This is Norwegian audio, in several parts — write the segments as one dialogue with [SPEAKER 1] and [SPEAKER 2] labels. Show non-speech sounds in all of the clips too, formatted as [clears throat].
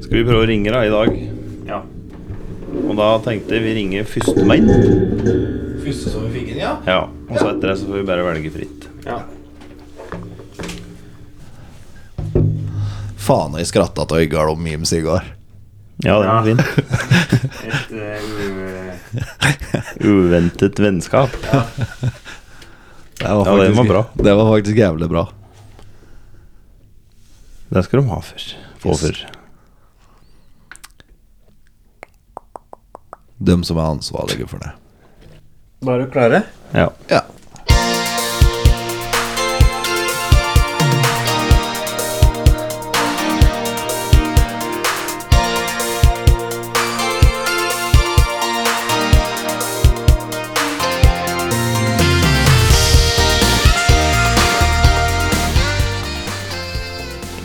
[SPEAKER 1] Skal vi prøve å ringe da i dag?
[SPEAKER 2] Ja.
[SPEAKER 1] Og da tenkte vi ringe førstemann.
[SPEAKER 3] Første som vi fikk inn, ja.
[SPEAKER 1] Ja, og så etter det så får vi bare velge fritt.
[SPEAKER 2] ja.
[SPEAKER 3] Faen, jeg skrattet til Øygard om memes i går.
[SPEAKER 1] Ja, den var
[SPEAKER 2] Ja.
[SPEAKER 1] fin.
[SPEAKER 2] Et eh, u-
[SPEAKER 1] Uventet vennskap.
[SPEAKER 3] Det var
[SPEAKER 1] Ja, den var bra.
[SPEAKER 3] Det var faktisk jævlig bra.
[SPEAKER 1] Den skal de ha for. Få
[SPEAKER 3] Yes.
[SPEAKER 1] for.
[SPEAKER 3] Dem som er ansvarlige for det.
[SPEAKER 2] Bare klare?
[SPEAKER 1] Ja.
[SPEAKER 3] Ja.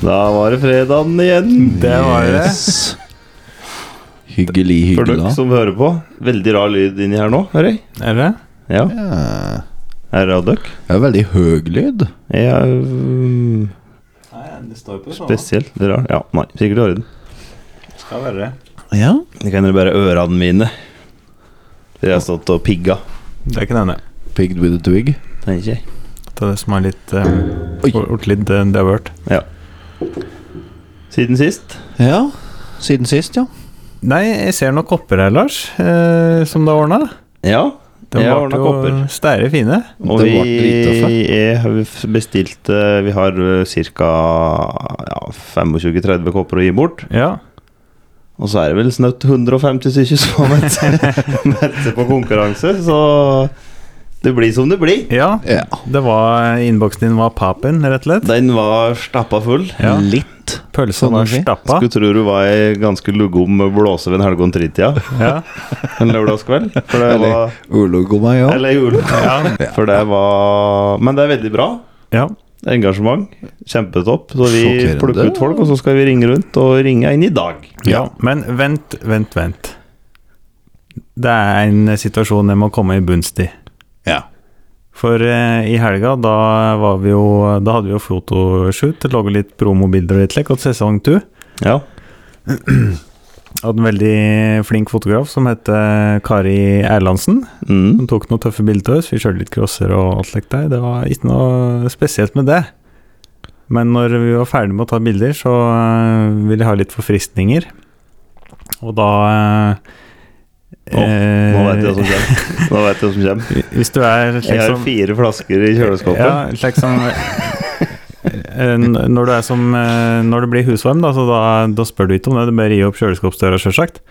[SPEAKER 1] Da var det fredagen igjen.
[SPEAKER 2] Det var det.
[SPEAKER 3] Yes. Hyggelig,
[SPEAKER 1] For dere
[SPEAKER 3] hyggelig.
[SPEAKER 1] som hører på. Veldig rar lyd inni her nå, hører jeg.
[SPEAKER 2] Er det?
[SPEAKER 1] Ja.
[SPEAKER 3] Ja.
[SPEAKER 1] Er det av dere?
[SPEAKER 3] Det er veldig høy lyd.
[SPEAKER 1] Ja, mm,
[SPEAKER 2] Nei, det står på sånn.
[SPEAKER 1] spesielt rar. Ja, nei, sikkert i orden.
[SPEAKER 2] Skal være det.
[SPEAKER 3] Ja.
[SPEAKER 1] Det kan dere bare ørene mine. Dere har stått og pigga,
[SPEAKER 2] Det kan hende.
[SPEAKER 3] Pigged with a twig.
[SPEAKER 1] tenker jeg.
[SPEAKER 2] Det er det som er litt eh,
[SPEAKER 3] Oi.
[SPEAKER 2] Gjort litt eh, divert.
[SPEAKER 1] Siden sist.
[SPEAKER 3] Ja. Siden sist, ja.
[SPEAKER 2] Nei, jeg ser noen kopper her, Lars, eh, som du har ordna.
[SPEAKER 1] Ja.
[SPEAKER 2] De
[SPEAKER 1] Jeg har ordnet
[SPEAKER 2] ble jo
[SPEAKER 1] kopper.
[SPEAKER 2] stære fine.
[SPEAKER 1] Og
[SPEAKER 3] Det
[SPEAKER 1] vi
[SPEAKER 3] ble drittøffe.
[SPEAKER 1] er, vi f- bestilte Vi har ca. Ja, 25-30 kopper å gi bort.
[SPEAKER 2] Ja.
[SPEAKER 1] Og så er det vel snaut 150 stykker som har meldt seg- [laughs] meldt seg på konkurranse, så det blir som det blir.
[SPEAKER 2] ja.
[SPEAKER 3] Ja.
[SPEAKER 2] Det var eh, Innboksen din var papen, rett og slett.
[SPEAKER 1] Den var stappa full.
[SPEAKER 2] Ja.
[SPEAKER 3] Litt.
[SPEAKER 2] Pølsa
[SPEAKER 3] Sånn
[SPEAKER 2] var
[SPEAKER 3] vi-
[SPEAKER 2] stappa.
[SPEAKER 1] Skulle tro du var ei ganske lugom blåse ved en halv og en tritida
[SPEAKER 2] Ja.
[SPEAKER 1] en lørdagskveld. For det var
[SPEAKER 3] Ulogo meg òg.
[SPEAKER 1] Eller jul.
[SPEAKER 2] Ja.
[SPEAKER 1] For det var Men det er veldig bra.
[SPEAKER 2] ja.
[SPEAKER 1] Engasjement. Kjempetopp. Så vi
[SPEAKER 3] Sjokkerende.
[SPEAKER 1] plukker ut folk, og så skal vi ringe rundt og ringe inn i dag.
[SPEAKER 2] Ja. Men vent, vent, vent. Det er en situasjon jeg må komme i bunns i.
[SPEAKER 3] Ja.
[SPEAKER 2] For eh, i helga, da, var vi jo, da hadde vi jo fotoshoot, laget litt promobilder og litt lekk, og sesong 2
[SPEAKER 1] Ja.
[SPEAKER 2] hadde en veldig flink fotograf som heter Kari Erlandsen,
[SPEAKER 1] Mm.
[SPEAKER 2] som tok noen tøffe bilder til oss, vi kjørte litt crosser og alt lekk der, det var ikke noe spesielt med det. Men når vi var ferdig med å ta bilder, så eh, ville jeg ha litt forfriskninger, og da... eh,
[SPEAKER 1] Å, Nå vet jeg hva som kommer. Nå vet jeg hva som
[SPEAKER 2] [laughs]
[SPEAKER 1] kommer.
[SPEAKER 2] Hvis du er slik
[SPEAKER 1] Jeg har
[SPEAKER 2] som-
[SPEAKER 1] fire flasker i kjøleskapet.
[SPEAKER 2] Ja, slik som [laughs] Eh, n- Når du er som eh, Når det blir husvarm, da, så da, da spør du ikke om det. Du bare gir opp kjøleskapsdøra, sjølsagt.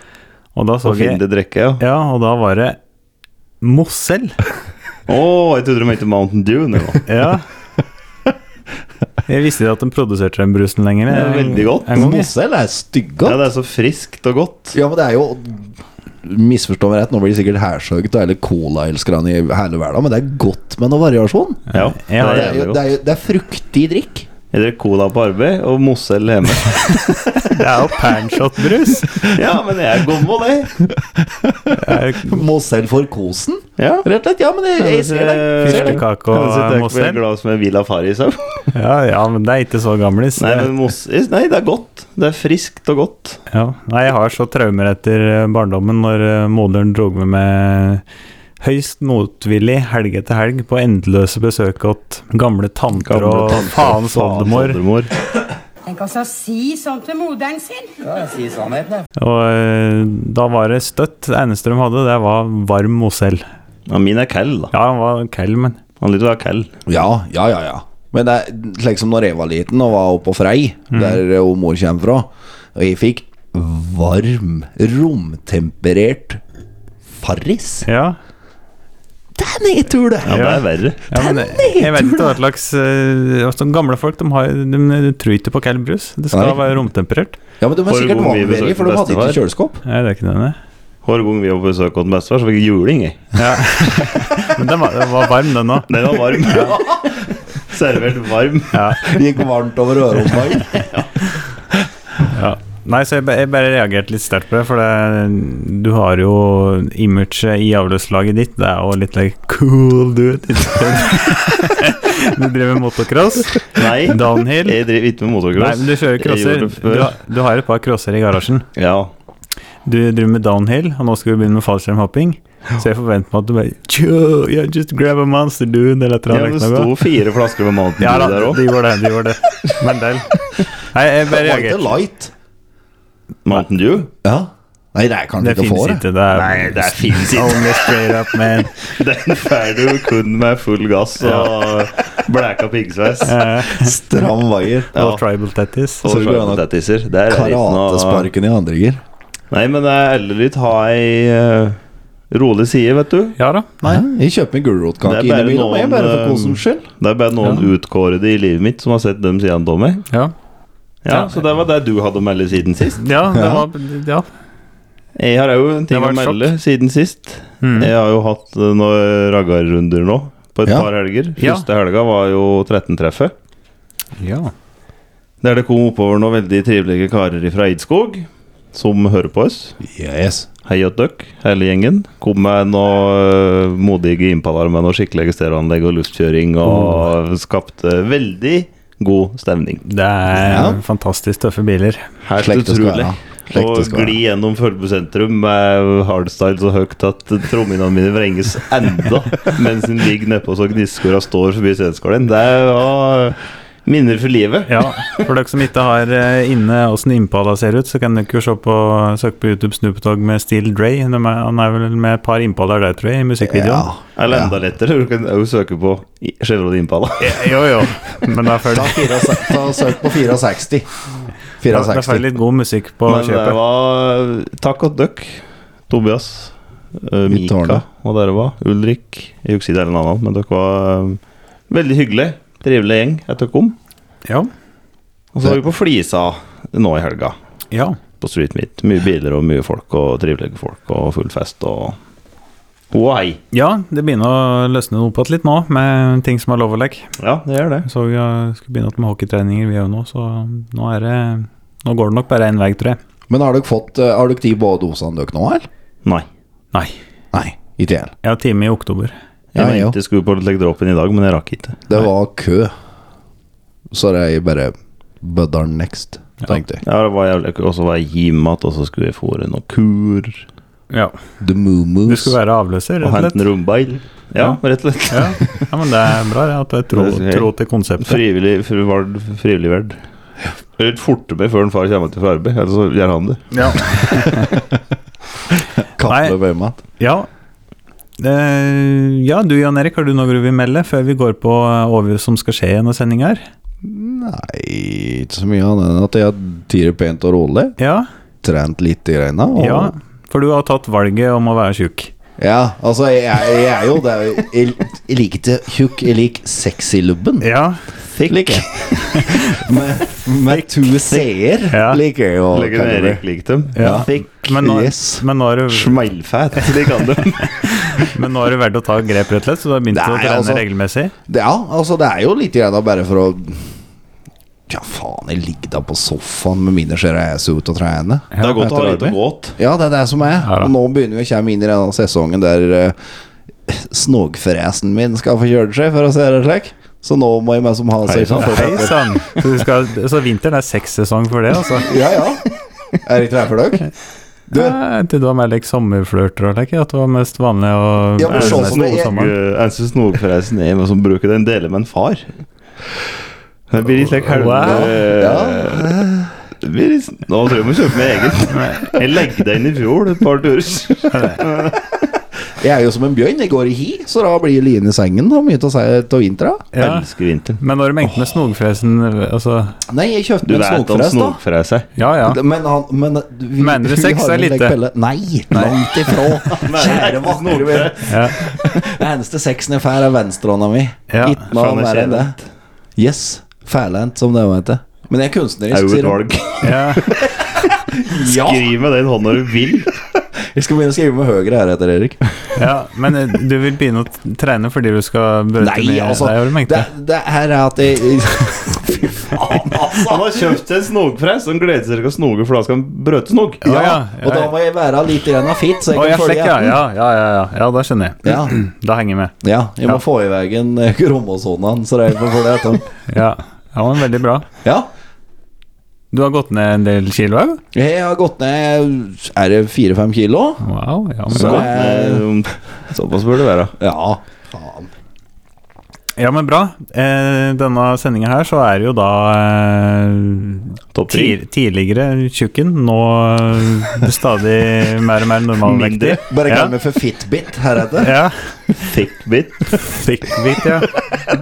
[SPEAKER 2] Og da så
[SPEAKER 1] Så finn
[SPEAKER 2] jeg
[SPEAKER 1] det drikke, ja.
[SPEAKER 2] Ja, og da var det Mosell.
[SPEAKER 1] Å, jeg trodde de het Mountain Dew nå.
[SPEAKER 2] Ja. Jeg visste ikke at de produserte den brusen lenger.
[SPEAKER 1] Det er veldig godt.
[SPEAKER 2] En gang, jeg.
[SPEAKER 3] Mossel er
[SPEAKER 1] Ja,
[SPEAKER 3] stygge.
[SPEAKER 1] det er så friskt og godt.
[SPEAKER 3] Ja, men det er jo Misforstå meg rett, nå blir det sikkert hærsøkt og hele colaelskerne i hele verden, men det er godt med noe variasjon.
[SPEAKER 1] Ja,
[SPEAKER 2] Jeg har-
[SPEAKER 3] Det
[SPEAKER 1] det er
[SPEAKER 3] er jo, det
[SPEAKER 1] godt.
[SPEAKER 3] er jo det er fruktig drikk.
[SPEAKER 1] Jeg drikker cola på arbeid og Mosell hjemme.
[SPEAKER 2] Det er jo Panshot-brus.
[SPEAKER 1] [laughs] Ja, men jeg er gammel, jeg.
[SPEAKER 3] Mosell for kosen?
[SPEAKER 1] Ja.
[SPEAKER 3] Rett og slett, ja, men jeg, jeg ser det. Ser det.
[SPEAKER 2] Fyrstekake
[SPEAKER 1] Jeg sitter
[SPEAKER 2] og
[SPEAKER 1] ikke med et
[SPEAKER 2] Mosell.
[SPEAKER 1] glass med Villa Farris òg.
[SPEAKER 2] Ja, ja, men det er ikke så gamlis.
[SPEAKER 1] Nei, men Mosell Nei, det er godt. Det er friskt og godt.
[SPEAKER 2] Ja. Nei, jeg har så traumer etter eh, barndommen når eh, moderen drog meg med høyst motvillig helg etter helg på endeløse besøk åt gamle tanter
[SPEAKER 1] Gamle
[SPEAKER 2] og
[SPEAKER 1] tanter,
[SPEAKER 2] faens oldemor.
[SPEAKER 1] oldemor.
[SPEAKER 4] Tenk altså å si sånt til moderen sin.
[SPEAKER 2] Og eh, da var det støtt. Det eneste de hadde, det var varm Mosell.
[SPEAKER 1] Ja, min er Kell, da.
[SPEAKER 2] Ja, han var kald, men
[SPEAKER 1] Han liker å være Kell.
[SPEAKER 3] Ja, ja, ja, ja. Men det er slik som når jeg var liten og var oppe på Frei, der jo mor kommer fra, og jeg fikk varm, romtemperert Farris.
[SPEAKER 2] Ja.
[SPEAKER 3] Det er nedtur, det!
[SPEAKER 1] Ja, det er verre.
[SPEAKER 2] ja men jeg, jeg vet ikke hva slags eh, altså, Gamle folk de, har, de, tror ikke på kald brus. Det skal
[SPEAKER 3] Nei.
[SPEAKER 2] være romtemperert.
[SPEAKER 3] Ja, men de er
[SPEAKER 1] Får
[SPEAKER 3] sikkert
[SPEAKER 1] god mye besøk
[SPEAKER 3] vanvittige, for de
[SPEAKER 1] til
[SPEAKER 3] hadde ikke kjøleskap.
[SPEAKER 2] Nei, det er ikke det.
[SPEAKER 1] Hver gang vi var på besøk hos bestefar, så fikk jeg juling. jeg.
[SPEAKER 2] Ja. Men den var, den var varm, den òg.
[SPEAKER 1] Den var varm. [laughs] Servert varm.
[SPEAKER 2] Ja.
[SPEAKER 3] Det gikk varmt over øret om dagen.
[SPEAKER 2] Ja. Nei, så jeg, ba- jeg bare reagerte litt sterkt på det, for det, du har jo
[SPEAKER 1] [laughs]
[SPEAKER 2] imaget i avløslaget ditt. Det er jo litt like cool dude. Du driver motocross?
[SPEAKER 1] Nei,
[SPEAKER 2] Downhill?
[SPEAKER 1] jeg driver ikke med
[SPEAKER 2] Nei,
[SPEAKER 1] motocross.
[SPEAKER 2] men du kjører
[SPEAKER 1] Jeg
[SPEAKER 2] crosser.
[SPEAKER 1] gjorde det før.
[SPEAKER 2] Du, har- du har et par crosser i garasjen.
[SPEAKER 1] Ja.
[SPEAKER 2] Du driver med downhill, og nå skal du begynne med fallskjermhopping. Så jeg forventer meg at du bare Yo, yeah, just grab a monster, dude, eller et
[SPEAKER 1] ja,
[SPEAKER 2] eller
[SPEAKER 1] men
[SPEAKER 2] annet.
[SPEAKER 1] det
[SPEAKER 2] noe.
[SPEAKER 1] sto fire flasker med Mountain
[SPEAKER 2] Ja da,
[SPEAKER 1] Dew der òg.
[SPEAKER 2] de gjorde det. de gjorde det Men del. Nei, jeg bare
[SPEAKER 3] Det var ikke
[SPEAKER 2] reagerte.
[SPEAKER 3] light.
[SPEAKER 1] Mountain Dew?
[SPEAKER 3] Ja. Nei, det er kanskje
[SPEAKER 2] Det
[SPEAKER 3] ikke å få
[SPEAKER 2] finnes
[SPEAKER 3] det.
[SPEAKER 2] ikke. Det er,
[SPEAKER 1] Nei,
[SPEAKER 2] [laughs]
[SPEAKER 1] det finnes ikke.
[SPEAKER 2] Only straight up, man.
[SPEAKER 1] Den får du kun med full gass og blæka piggsveis.
[SPEAKER 2] [laughs] Eh,
[SPEAKER 3] Stram vaier.
[SPEAKER 2] Og tribal tattis.
[SPEAKER 1] Og
[SPEAKER 3] Så går det an å
[SPEAKER 1] tattiser. Der er det ikke noe
[SPEAKER 3] Karatesparken i andre gir.
[SPEAKER 1] Nei, men det er litt har ei eh, rolig side, vet du.
[SPEAKER 2] Ja da.
[SPEAKER 3] Nei, jeg kjøper meg
[SPEAKER 1] Det
[SPEAKER 3] gulrotkake
[SPEAKER 1] er bare
[SPEAKER 3] innimellom, jeg,
[SPEAKER 1] noen,
[SPEAKER 3] bare for
[SPEAKER 1] eh,
[SPEAKER 3] kosens skyld.
[SPEAKER 1] Det er bare noen
[SPEAKER 2] Ja.
[SPEAKER 1] utkårede i livet mitt som har sett dem siden Tommy.
[SPEAKER 2] Ja.
[SPEAKER 1] Ja,
[SPEAKER 2] Ja.
[SPEAKER 1] så det var det du hadde å melde siden sist.
[SPEAKER 2] Ja, det
[SPEAKER 3] Ja.
[SPEAKER 2] var Ja.
[SPEAKER 1] Jeg har òg en ting
[SPEAKER 2] Det
[SPEAKER 1] å
[SPEAKER 2] var et
[SPEAKER 1] melde siden sist.
[SPEAKER 2] Mm.
[SPEAKER 1] Jeg har jo hatt eh, noen raggarrunder nå, på et
[SPEAKER 3] Ja.
[SPEAKER 1] par helger.
[SPEAKER 2] Ja.
[SPEAKER 1] Første helga var jo 13-treffet.
[SPEAKER 2] ja.
[SPEAKER 1] Der det kom oppover noen veldig trivelige karer fra Eidskog som hører på oss.
[SPEAKER 3] Yes.
[SPEAKER 1] Hei åt døkk, hele gjengen. Kom med noen modige impalaer med noe skikkelig stereoanlegg og luftkjøring, og skapte veldig god stemning.
[SPEAKER 2] Det er
[SPEAKER 3] Ja.
[SPEAKER 2] fantastisk tøffe biler.
[SPEAKER 1] Helt
[SPEAKER 3] Slik det skal
[SPEAKER 1] utrolig.
[SPEAKER 3] være. Slik det
[SPEAKER 1] Og
[SPEAKER 3] skal
[SPEAKER 1] gli gjennom Følbu sentrum med hardstyle så høyt at trommehinnene mine vrenges enda mens den ligger nedpå så gnisskåra står forbi sceneskålen. Det var minner for livet.
[SPEAKER 2] Ja, For dere som ikke har eh, inne åssen Impala ser ut, så kan dere jo se på, søke på YouTube Snoop Dogg med Steel Dre. De er, han er vel med et par Impalaer der, tror jeg, i musikkvideoen.
[SPEAKER 3] Ja.
[SPEAKER 1] Eller enda lettere, du kan òg søke på Chevrolet Impala.
[SPEAKER 2] Jo, jo. Men det er
[SPEAKER 3] Ta,
[SPEAKER 2] følt.
[SPEAKER 3] fire- ta Søk på 64.
[SPEAKER 2] Det er- det er
[SPEAKER 3] 64.
[SPEAKER 2] litt god musikk på
[SPEAKER 1] Men eh, det
[SPEAKER 2] kjøpet.
[SPEAKER 1] var Takk og døkk, Tobias, eh,
[SPEAKER 3] Vi tar
[SPEAKER 1] Mika
[SPEAKER 3] det.
[SPEAKER 1] og dere var. Ulrik. Jeg husker ikke en annen, men dere var eh, veldig hyggelig. Trivelig gjeng etter dere kom.
[SPEAKER 2] Ja.
[SPEAKER 1] Og så var vi på Flisa nå i helga,
[SPEAKER 2] ja.
[SPEAKER 1] på Street Meet. Mye biler og mye folk, og trivelige folk, og full fest og Ho og hei.
[SPEAKER 2] Ja, det begynner å løsne noe på det litt nå, med ting som er lov å legge.
[SPEAKER 1] Ja, det gjør det.
[SPEAKER 2] Så vi har- skal begynne med hockeytreninger vi òg nå, så nå er det Nå går det nok bare én vei, tror jeg.
[SPEAKER 3] Men har dere fått eh, Har dere de både dosene dere nå, eller?
[SPEAKER 1] Nei.
[SPEAKER 2] Nei.
[SPEAKER 3] Nei, ikke jeg.
[SPEAKER 2] Jeg har time i oktober.
[SPEAKER 1] Jeg
[SPEAKER 3] Ja,
[SPEAKER 1] mente
[SPEAKER 3] jo.
[SPEAKER 1] jeg skulle på Legdråpen i dag, men jeg rakk ikke.
[SPEAKER 3] Det var kø. Så det er bare Buddern next, tenkte jeg.
[SPEAKER 1] Ja, det var jævlig Og så var jeg hjemme igjen, og så skulle jeg få noen kur.
[SPEAKER 2] Ja.
[SPEAKER 3] The
[SPEAKER 2] Du
[SPEAKER 3] Moo-Moos.
[SPEAKER 2] skulle være avløser,
[SPEAKER 1] Og
[SPEAKER 2] rett og
[SPEAKER 1] hente en
[SPEAKER 2] slett.
[SPEAKER 1] rumbeil. Ja, rett og slett.
[SPEAKER 2] Ja. ja, men det er bra ja, at du er tro,
[SPEAKER 1] Det er så
[SPEAKER 2] tro til
[SPEAKER 1] [laughs]
[SPEAKER 2] konseptet.
[SPEAKER 1] Frivillig, fri, var- frivillig verd. Litt fortere før en far kommer til fra arbeid, ellers så gjør han det.
[SPEAKER 2] Ja.
[SPEAKER 3] Kappe
[SPEAKER 2] Nei.
[SPEAKER 3] ved meg.
[SPEAKER 2] ja. Eh, ja, du Jan Erik, har du noe du vil melde før vi går på eh, over som skal skje i denne sendinga her?
[SPEAKER 3] Nei, ikke så mye annet enn at jeg har tiret pent og rolig.
[SPEAKER 2] Ja,
[SPEAKER 3] Trent litt i greina. Og
[SPEAKER 2] ja, for du har tatt valget om å være tjukk.
[SPEAKER 3] Ja, altså, jeg, jeg er jo det. er jo- Jeg, jeg liker ikke tjukk, jeg liker sexy lubben.
[SPEAKER 2] Ja.
[SPEAKER 3] Lik.
[SPEAKER 2] [laughs]
[SPEAKER 3] med, med to c-er
[SPEAKER 2] Ja.
[SPEAKER 3] liker jeg jo.
[SPEAKER 1] Legger ned Erik lik dem.
[SPEAKER 2] Ja.
[SPEAKER 1] Fikk
[SPEAKER 2] Men nå,
[SPEAKER 3] Yes.
[SPEAKER 2] men, nå har du,
[SPEAKER 1] smellfett, [laughs] de kan dem.
[SPEAKER 2] men nå har du valgt å ta grep, rett og slett, så du har begynt å
[SPEAKER 3] Nei,
[SPEAKER 2] trene
[SPEAKER 3] altså.
[SPEAKER 2] regelmessig?
[SPEAKER 3] Det, ja, altså det er jo litt grann da bare for å Ja, faen, jeg ligger da på sofaen med mine skjerese ut og trene.
[SPEAKER 1] Det er godt å ha litt å
[SPEAKER 2] arbeid.
[SPEAKER 1] gå til.
[SPEAKER 3] Ja, det er det som er.
[SPEAKER 2] Ja da.
[SPEAKER 3] og nå begynner vi å komme inn i denne sesongen der eh, snogfresen min skal få kjørt seg, for å si det slik. Så nå må jeg meg som ha
[SPEAKER 1] Hei
[SPEAKER 3] seg
[SPEAKER 1] sann.
[SPEAKER 3] for-
[SPEAKER 2] Hei sann! Så, du skal- så vinteren er sexsesong for det, altså?
[SPEAKER 3] Ja, ja. Er det ikke det for dere? Du-
[SPEAKER 2] Nei, til du har med like, sommerflørter og like, at det var mest vanlig å
[SPEAKER 3] Ja, men
[SPEAKER 2] Nei,
[SPEAKER 3] sånn
[SPEAKER 2] nesten
[SPEAKER 3] som det
[SPEAKER 2] over
[SPEAKER 3] er-
[SPEAKER 2] sommeren.
[SPEAKER 1] Eneste snorforreisen er hvem som bruker den, deler med en far. Det blir litt like helvete
[SPEAKER 2] Wow.
[SPEAKER 1] ja. det blir litt, sånn- Nå tror jeg jeg må kjøpe meg eget. Jeg legger den i fjor et par turer.
[SPEAKER 3] Jeg er jo som en bjørn. Jeg går i hi, så da blir line i sengen. Har mye til å si til vinteren.
[SPEAKER 2] Ja.
[SPEAKER 1] Elsker vinteren.
[SPEAKER 2] Men når de endte med snogfresen altså,
[SPEAKER 3] Nei, jeg kjøpte
[SPEAKER 1] Du
[SPEAKER 3] en
[SPEAKER 1] vet han
[SPEAKER 3] snogfres, da.
[SPEAKER 1] snorfreser.
[SPEAKER 2] Ja, ja.
[SPEAKER 3] Men han men, vi,
[SPEAKER 2] Mener du
[SPEAKER 3] vi
[SPEAKER 2] sex er
[SPEAKER 3] har en
[SPEAKER 2] lite?
[SPEAKER 3] legpelle. Nei, langt
[SPEAKER 1] [laughs]
[SPEAKER 3] ifra. Kjære vakre venn.
[SPEAKER 2] ja.
[SPEAKER 3] Den eneste sexen jeg får, er venstrehånda mi.
[SPEAKER 2] Ja,
[SPEAKER 3] Ikke noe
[SPEAKER 1] faen, det er
[SPEAKER 3] mer enn det. Yes. Fælænt, som det også heter. Men jeg er
[SPEAKER 1] Er
[SPEAKER 3] kunstnerisk,
[SPEAKER 1] jo et
[SPEAKER 3] sier
[SPEAKER 1] valg.
[SPEAKER 2] ja.
[SPEAKER 3] hun. Ja!
[SPEAKER 1] Skriv med den hånda du vil.
[SPEAKER 3] Jeg skal begynne å skrive med høyre heretter, Erik.
[SPEAKER 2] ja. Men eh, du vil begynne å trene fordi du skal brøyte
[SPEAKER 3] Nei, altså.
[SPEAKER 2] Nei,
[SPEAKER 3] Det, det her er at jeg [laughs] Fy Faen, altså!
[SPEAKER 1] Han har kjøpt seg en snogpress og han gleder seg til å snoge flaska med brøtesnog.
[SPEAKER 2] Ja,
[SPEAKER 3] Ja,
[SPEAKER 2] ja,
[SPEAKER 3] og da
[SPEAKER 2] ja.
[SPEAKER 3] må jeg være litt grann fit, så
[SPEAKER 2] Å,
[SPEAKER 3] jeg
[SPEAKER 2] ja,
[SPEAKER 3] kan
[SPEAKER 2] slik,
[SPEAKER 3] følge
[SPEAKER 2] ja.
[SPEAKER 3] etter.
[SPEAKER 2] Ja, ja, ja, ja. ja, da skjønner jeg.
[SPEAKER 3] Ja.
[SPEAKER 2] Da henger jeg med.
[SPEAKER 3] Ja, jeg må
[SPEAKER 2] Ja.
[SPEAKER 3] få i veien eh, kromosonene, så jeg får følge etter.
[SPEAKER 2] [laughs] Ja, ja men veldig bra.
[SPEAKER 3] Ja.
[SPEAKER 2] Du har gått ned en del kilo òg?
[SPEAKER 3] Jeg har gått ned Er det fire-fem kilo?
[SPEAKER 2] Wow, ja, men
[SPEAKER 3] Så-
[SPEAKER 2] bra.
[SPEAKER 1] Eh, Såpass burde det være.
[SPEAKER 3] Ja. Faen.
[SPEAKER 2] Ja, men bra. Eh, denne sendinga her så er jo da eh,
[SPEAKER 1] Topp tre.
[SPEAKER 2] ti- tidligere tjukken, nå eh, stadig mer og mer normalvektig.
[SPEAKER 1] Mindre.
[SPEAKER 3] Bare
[SPEAKER 2] Ja.
[SPEAKER 3] kall meg for Fitbit heretter.
[SPEAKER 2] Ja.
[SPEAKER 1] Thickbit.
[SPEAKER 2] Thickbit, ja.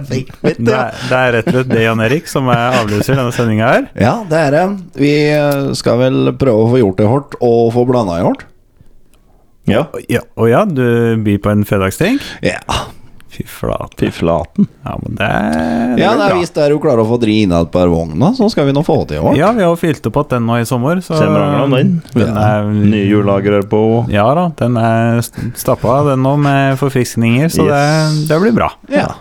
[SPEAKER 3] Fitbit,
[SPEAKER 2] Det
[SPEAKER 3] ja.
[SPEAKER 2] er, det er rett og slett det, Jan Erik, som er avløser denne sendinga her.
[SPEAKER 3] ja, det er det. Vi eh, skal vel prøve å få gjort det hardt, og få blanda i hardt.
[SPEAKER 1] Ja.
[SPEAKER 2] Ja, og ja, du byr på en fredagsdrink?
[SPEAKER 3] Ja.
[SPEAKER 2] Fy flate.
[SPEAKER 1] Fy flaten.
[SPEAKER 2] Ja, men det, det
[SPEAKER 3] Ja,
[SPEAKER 2] blir
[SPEAKER 3] nei,
[SPEAKER 2] bra.
[SPEAKER 3] hvis det er jo klarer å få dri innad på vogna, så skal vi nå få til i år.
[SPEAKER 2] Ja, vi har jo fylt opp igjen nå i sommer, så
[SPEAKER 1] Kjenner han den inn?
[SPEAKER 2] Den er,
[SPEAKER 1] Nye hjullagre på
[SPEAKER 2] Ja da, den er st- stappa den nå med forfriskninger, så
[SPEAKER 1] Yes.
[SPEAKER 2] det, det blir bra.
[SPEAKER 3] Ja.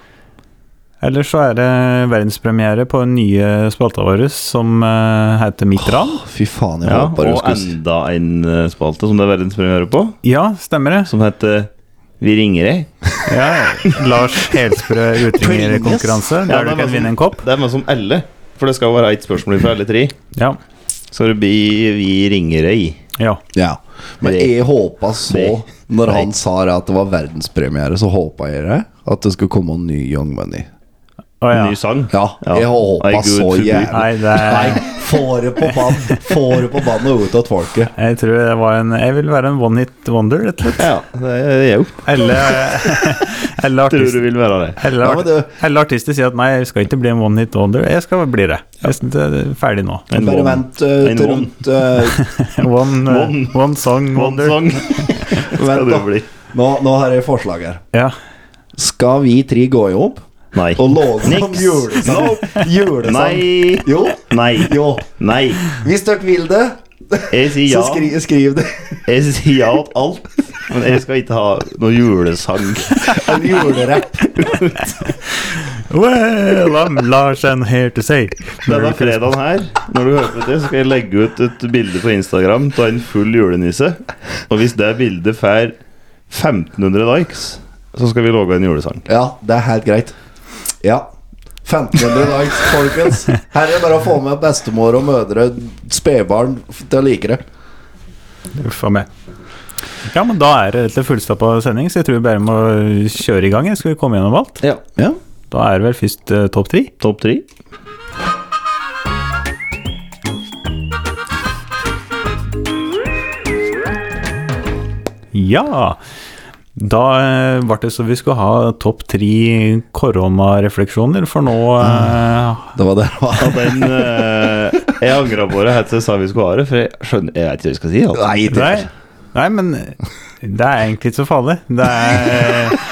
[SPEAKER 2] Ellers så er det verdenspremiere på den nye spalta vår som eh, heter Mitran.
[SPEAKER 3] Fy faen, jeg
[SPEAKER 1] ja,
[SPEAKER 3] håper du
[SPEAKER 1] Og
[SPEAKER 3] skulle si-
[SPEAKER 1] enda en eh, spalte som det er verdenspremiere på,
[SPEAKER 2] Ja, stemmer det.
[SPEAKER 1] som heter Vi ringer ei.
[SPEAKER 2] Ja, Lars Helsprø utringerkonkurranse,
[SPEAKER 1] Ja,
[SPEAKER 2] der
[SPEAKER 1] det er sånn. meg
[SPEAKER 2] du kan
[SPEAKER 1] som-
[SPEAKER 2] vinne en kopp.
[SPEAKER 1] Det er meg som alle, for det skal være ett spørsmål fra alle tre.
[SPEAKER 2] Ja.
[SPEAKER 1] Så det blir Vi ringer ei.
[SPEAKER 2] ja.
[SPEAKER 3] Ja. Men
[SPEAKER 1] Det-
[SPEAKER 3] jeg håpa så,
[SPEAKER 1] det-
[SPEAKER 3] når han sa det at det var verdenspremiere, så håpa jeg det. At det skulle komme en ny Young Money.
[SPEAKER 2] Å, ja.
[SPEAKER 1] Ny sang.
[SPEAKER 3] Ja, jeg
[SPEAKER 1] I
[SPEAKER 3] håpa
[SPEAKER 1] good
[SPEAKER 3] så
[SPEAKER 1] to be.
[SPEAKER 3] jævlig.
[SPEAKER 2] Nei, det
[SPEAKER 3] Nei,
[SPEAKER 2] er
[SPEAKER 3] få det på bann! Få det på bann og ut av folket.
[SPEAKER 2] jeg tror det var en Jeg vil være en one hit wonder, rett og slett.
[SPEAKER 1] Ja, det er jeg jo.
[SPEAKER 2] Eller, [laughs] eller
[SPEAKER 1] Tror du
[SPEAKER 2] artist.
[SPEAKER 1] vil være det.
[SPEAKER 2] Eller,
[SPEAKER 3] Ja, men det-
[SPEAKER 2] eller artister sier at nei, jeg skal ikke bli en one hit wonder. Jeg skal bli det. Jeg, det er ferdig nå.
[SPEAKER 1] En
[SPEAKER 3] Bare
[SPEAKER 1] one-
[SPEAKER 3] vent eh,
[SPEAKER 1] En
[SPEAKER 3] til
[SPEAKER 1] one. [laughs]
[SPEAKER 3] rundt
[SPEAKER 2] [laughs]
[SPEAKER 3] eh,
[SPEAKER 2] One, uh,
[SPEAKER 1] One-
[SPEAKER 2] one
[SPEAKER 1] One
[SPEAKER 2] song wonder.
[SPEAKER 1] song skal
[SPEAKER 3] Vent,
[SPEAKER 1] du
[SPEAKER 3] da.
[SPEAKER 1] bli.
[SPEAKER 3] Nå, nå har jeg et forslag her.
[SPEAKER 2] Ja.
[SPEAKER 3] Skal vi tre gå i hop
[SPEAKER 1] Nei.
[SPEAKER 3] og låne som
[SPEAKER 1] Niks.
[SPEAKER 3] julesang? julesang?
[SPEAKER 1] Nei.
[SPEAKER 3] Jo.
[SPEAKER 1] Nei.
[SPEAKER 3] Jo.
[SPEAKER 1] Nei.
[SPEAKER 3] Hvis dere vil det,
[SPEAKER 1] Jeg sier ja.
[SPEAKER 3] så skri, skriv det.
[SPEAKER 1] Jeg sier ja til alt. Men jeg skal ikke ha noe julesang.
[SPEAKER 3] En julerapp.
[SPEAKER 2] Well, I'm Lars and here
[SPEAKER 1] [laughs]
[SPEAKER 2] to say
[SPEAKER 1] Denne fredagen her, når du hører på det, så skal jeg legge ut et bilde på Instagram av en full julenisse. Og hvis det bildet får 1500 likes, så skal vi lage en julesang.
[SPEAKER 3] Ja, det er helt greit. Ja. 1500 likes, folkens. Her er det bare å få med bestemor og mødre, spedbarn, til å like det.
[SPEAKER 2] Uff a meg. Ja, men da er det rett og slett fullstappa sending, så jeg tror vi bare må kjøre i gang. Jeg skal vi komme gjennom alt?
[SPEAKER 3] Ja. ja.
[SPEAKER 2] Da er det vel først eh, topp tre.
[SPEAKER 1] Topp tre.
[SPEAKER 2] Ja. Da eh, ble det så vi skulle ha topp tre koronarefleksjoner, for nå
[SPEAKER 1] Mm.
[SPEAKER 2] eh,
[SPEAKER 3] Det var det det var.
[SPEAKER 1] Ja, den eh, Jeg angra på det helt til jeg sa vi skulle ha det, for jeg skjønner Jeg vet ikke hva jeg skal si. Altså.
[SPEAKER 3] Nei, det
[SPEAKER 2] Nei, nei, men det er egentlig ikke så farlig. Det er eh,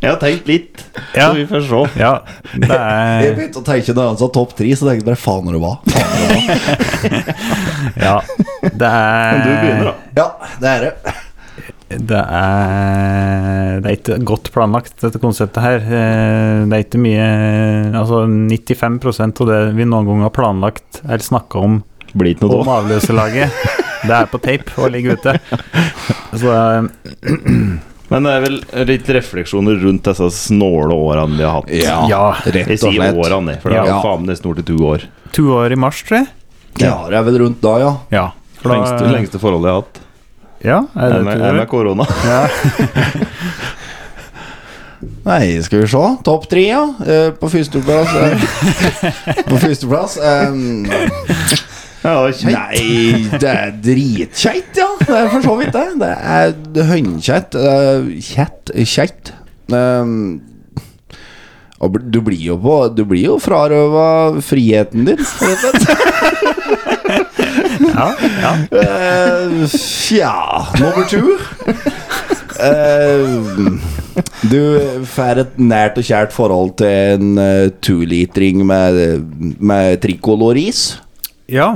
[SPEAKER 1] Jeg har tenkt litt, så
[SPEAKER 2] Ja.
[SPEAKER 1] vi får se.
[SPEAKER 2] Ja, det
[SPEAKER 3] Jeg
[SPEAKER 2] er
[SPEAKER 3] begynte å tenke når han sa topp tre, så tenkte jeg bare faen når det var. Faen når det var.
[SPEAKER 2] Ja, det er
[SPEAKER 1] Men du begynner, da.
[SPEAKER 3] Ja, det er det.
[SPEAKER 2] Det er, det er ikke godt planlagt, dette konseptet her. Eh, Det er ikke mye Altså, 95 av det vi noen gang har planlagt eller snakka om
[SPEAKER 1] Blir ikke noe
[SPEAKER 2] om
[SPEAKER 1] da.
[SPEAKER 2] avløserlaget, det er på tape og ligger ute. Så eh,
[SPEAKER 1] Men det er vel litt refleksjoner rundt disse snåle årene vi har hatt.
[SPEAKER 3] Ja,
[SPEAKER 2] Ja,
[SPEAKER 3] rett
[SPEAKER 1] Jeg
[SPEAKER 3] og
[SPEAKER 1] sier
[SPEAKER 3] slett.
[SPEAKER 1] årene, for det er
[SPEAKER 3] Ja.
[SPEAKER 1] jo faen nesten snart i to år.
[SPEAKER 2] to år i mars, tror jeg.
[SPEAKER 3] Ja, det er vel rundt da, ja.
[SPEAKER 2] Ja. for da-
[SPEAKER 1] Lengste, lengste forholdet jeg har hatt.
[SPEAKER 2] Ja, er
[SPEAKER 1] Er
[SPEAKER 2] det
[SPEAKER 1] med,
[SPEAKER 2] to
[SPEAKER 1] er med
[SPEAKER 2] år?
[SPEAKER 3] [laughs]
[SPEAKER 1] korona.
[SPEAKER 2] Ja.
[SPEAKER 3] Nei, skal vi se. Topp tre, ja. Eh, På førsteplass eh. [laughs] På førsteplass eh,
[SPEAKER 1] Ja, det var kjekt.
[SPEAKER 3] Nei, det er dritkjeit, ja. Det er for så vidt det. Det er hønkjeit. eh, Kjett. Kjeit. Um, og bl- du blir jo på Du blir jo frarøva friheten din, rett og slett.
[SPEAKER 2] ja, ja.
[SPEAKER 3] Eh, Tja Nummer to Eh, Du får et nært og kjært forhold til en uh, to-litring med, med trikoloris
[SPEAKER 2] ja.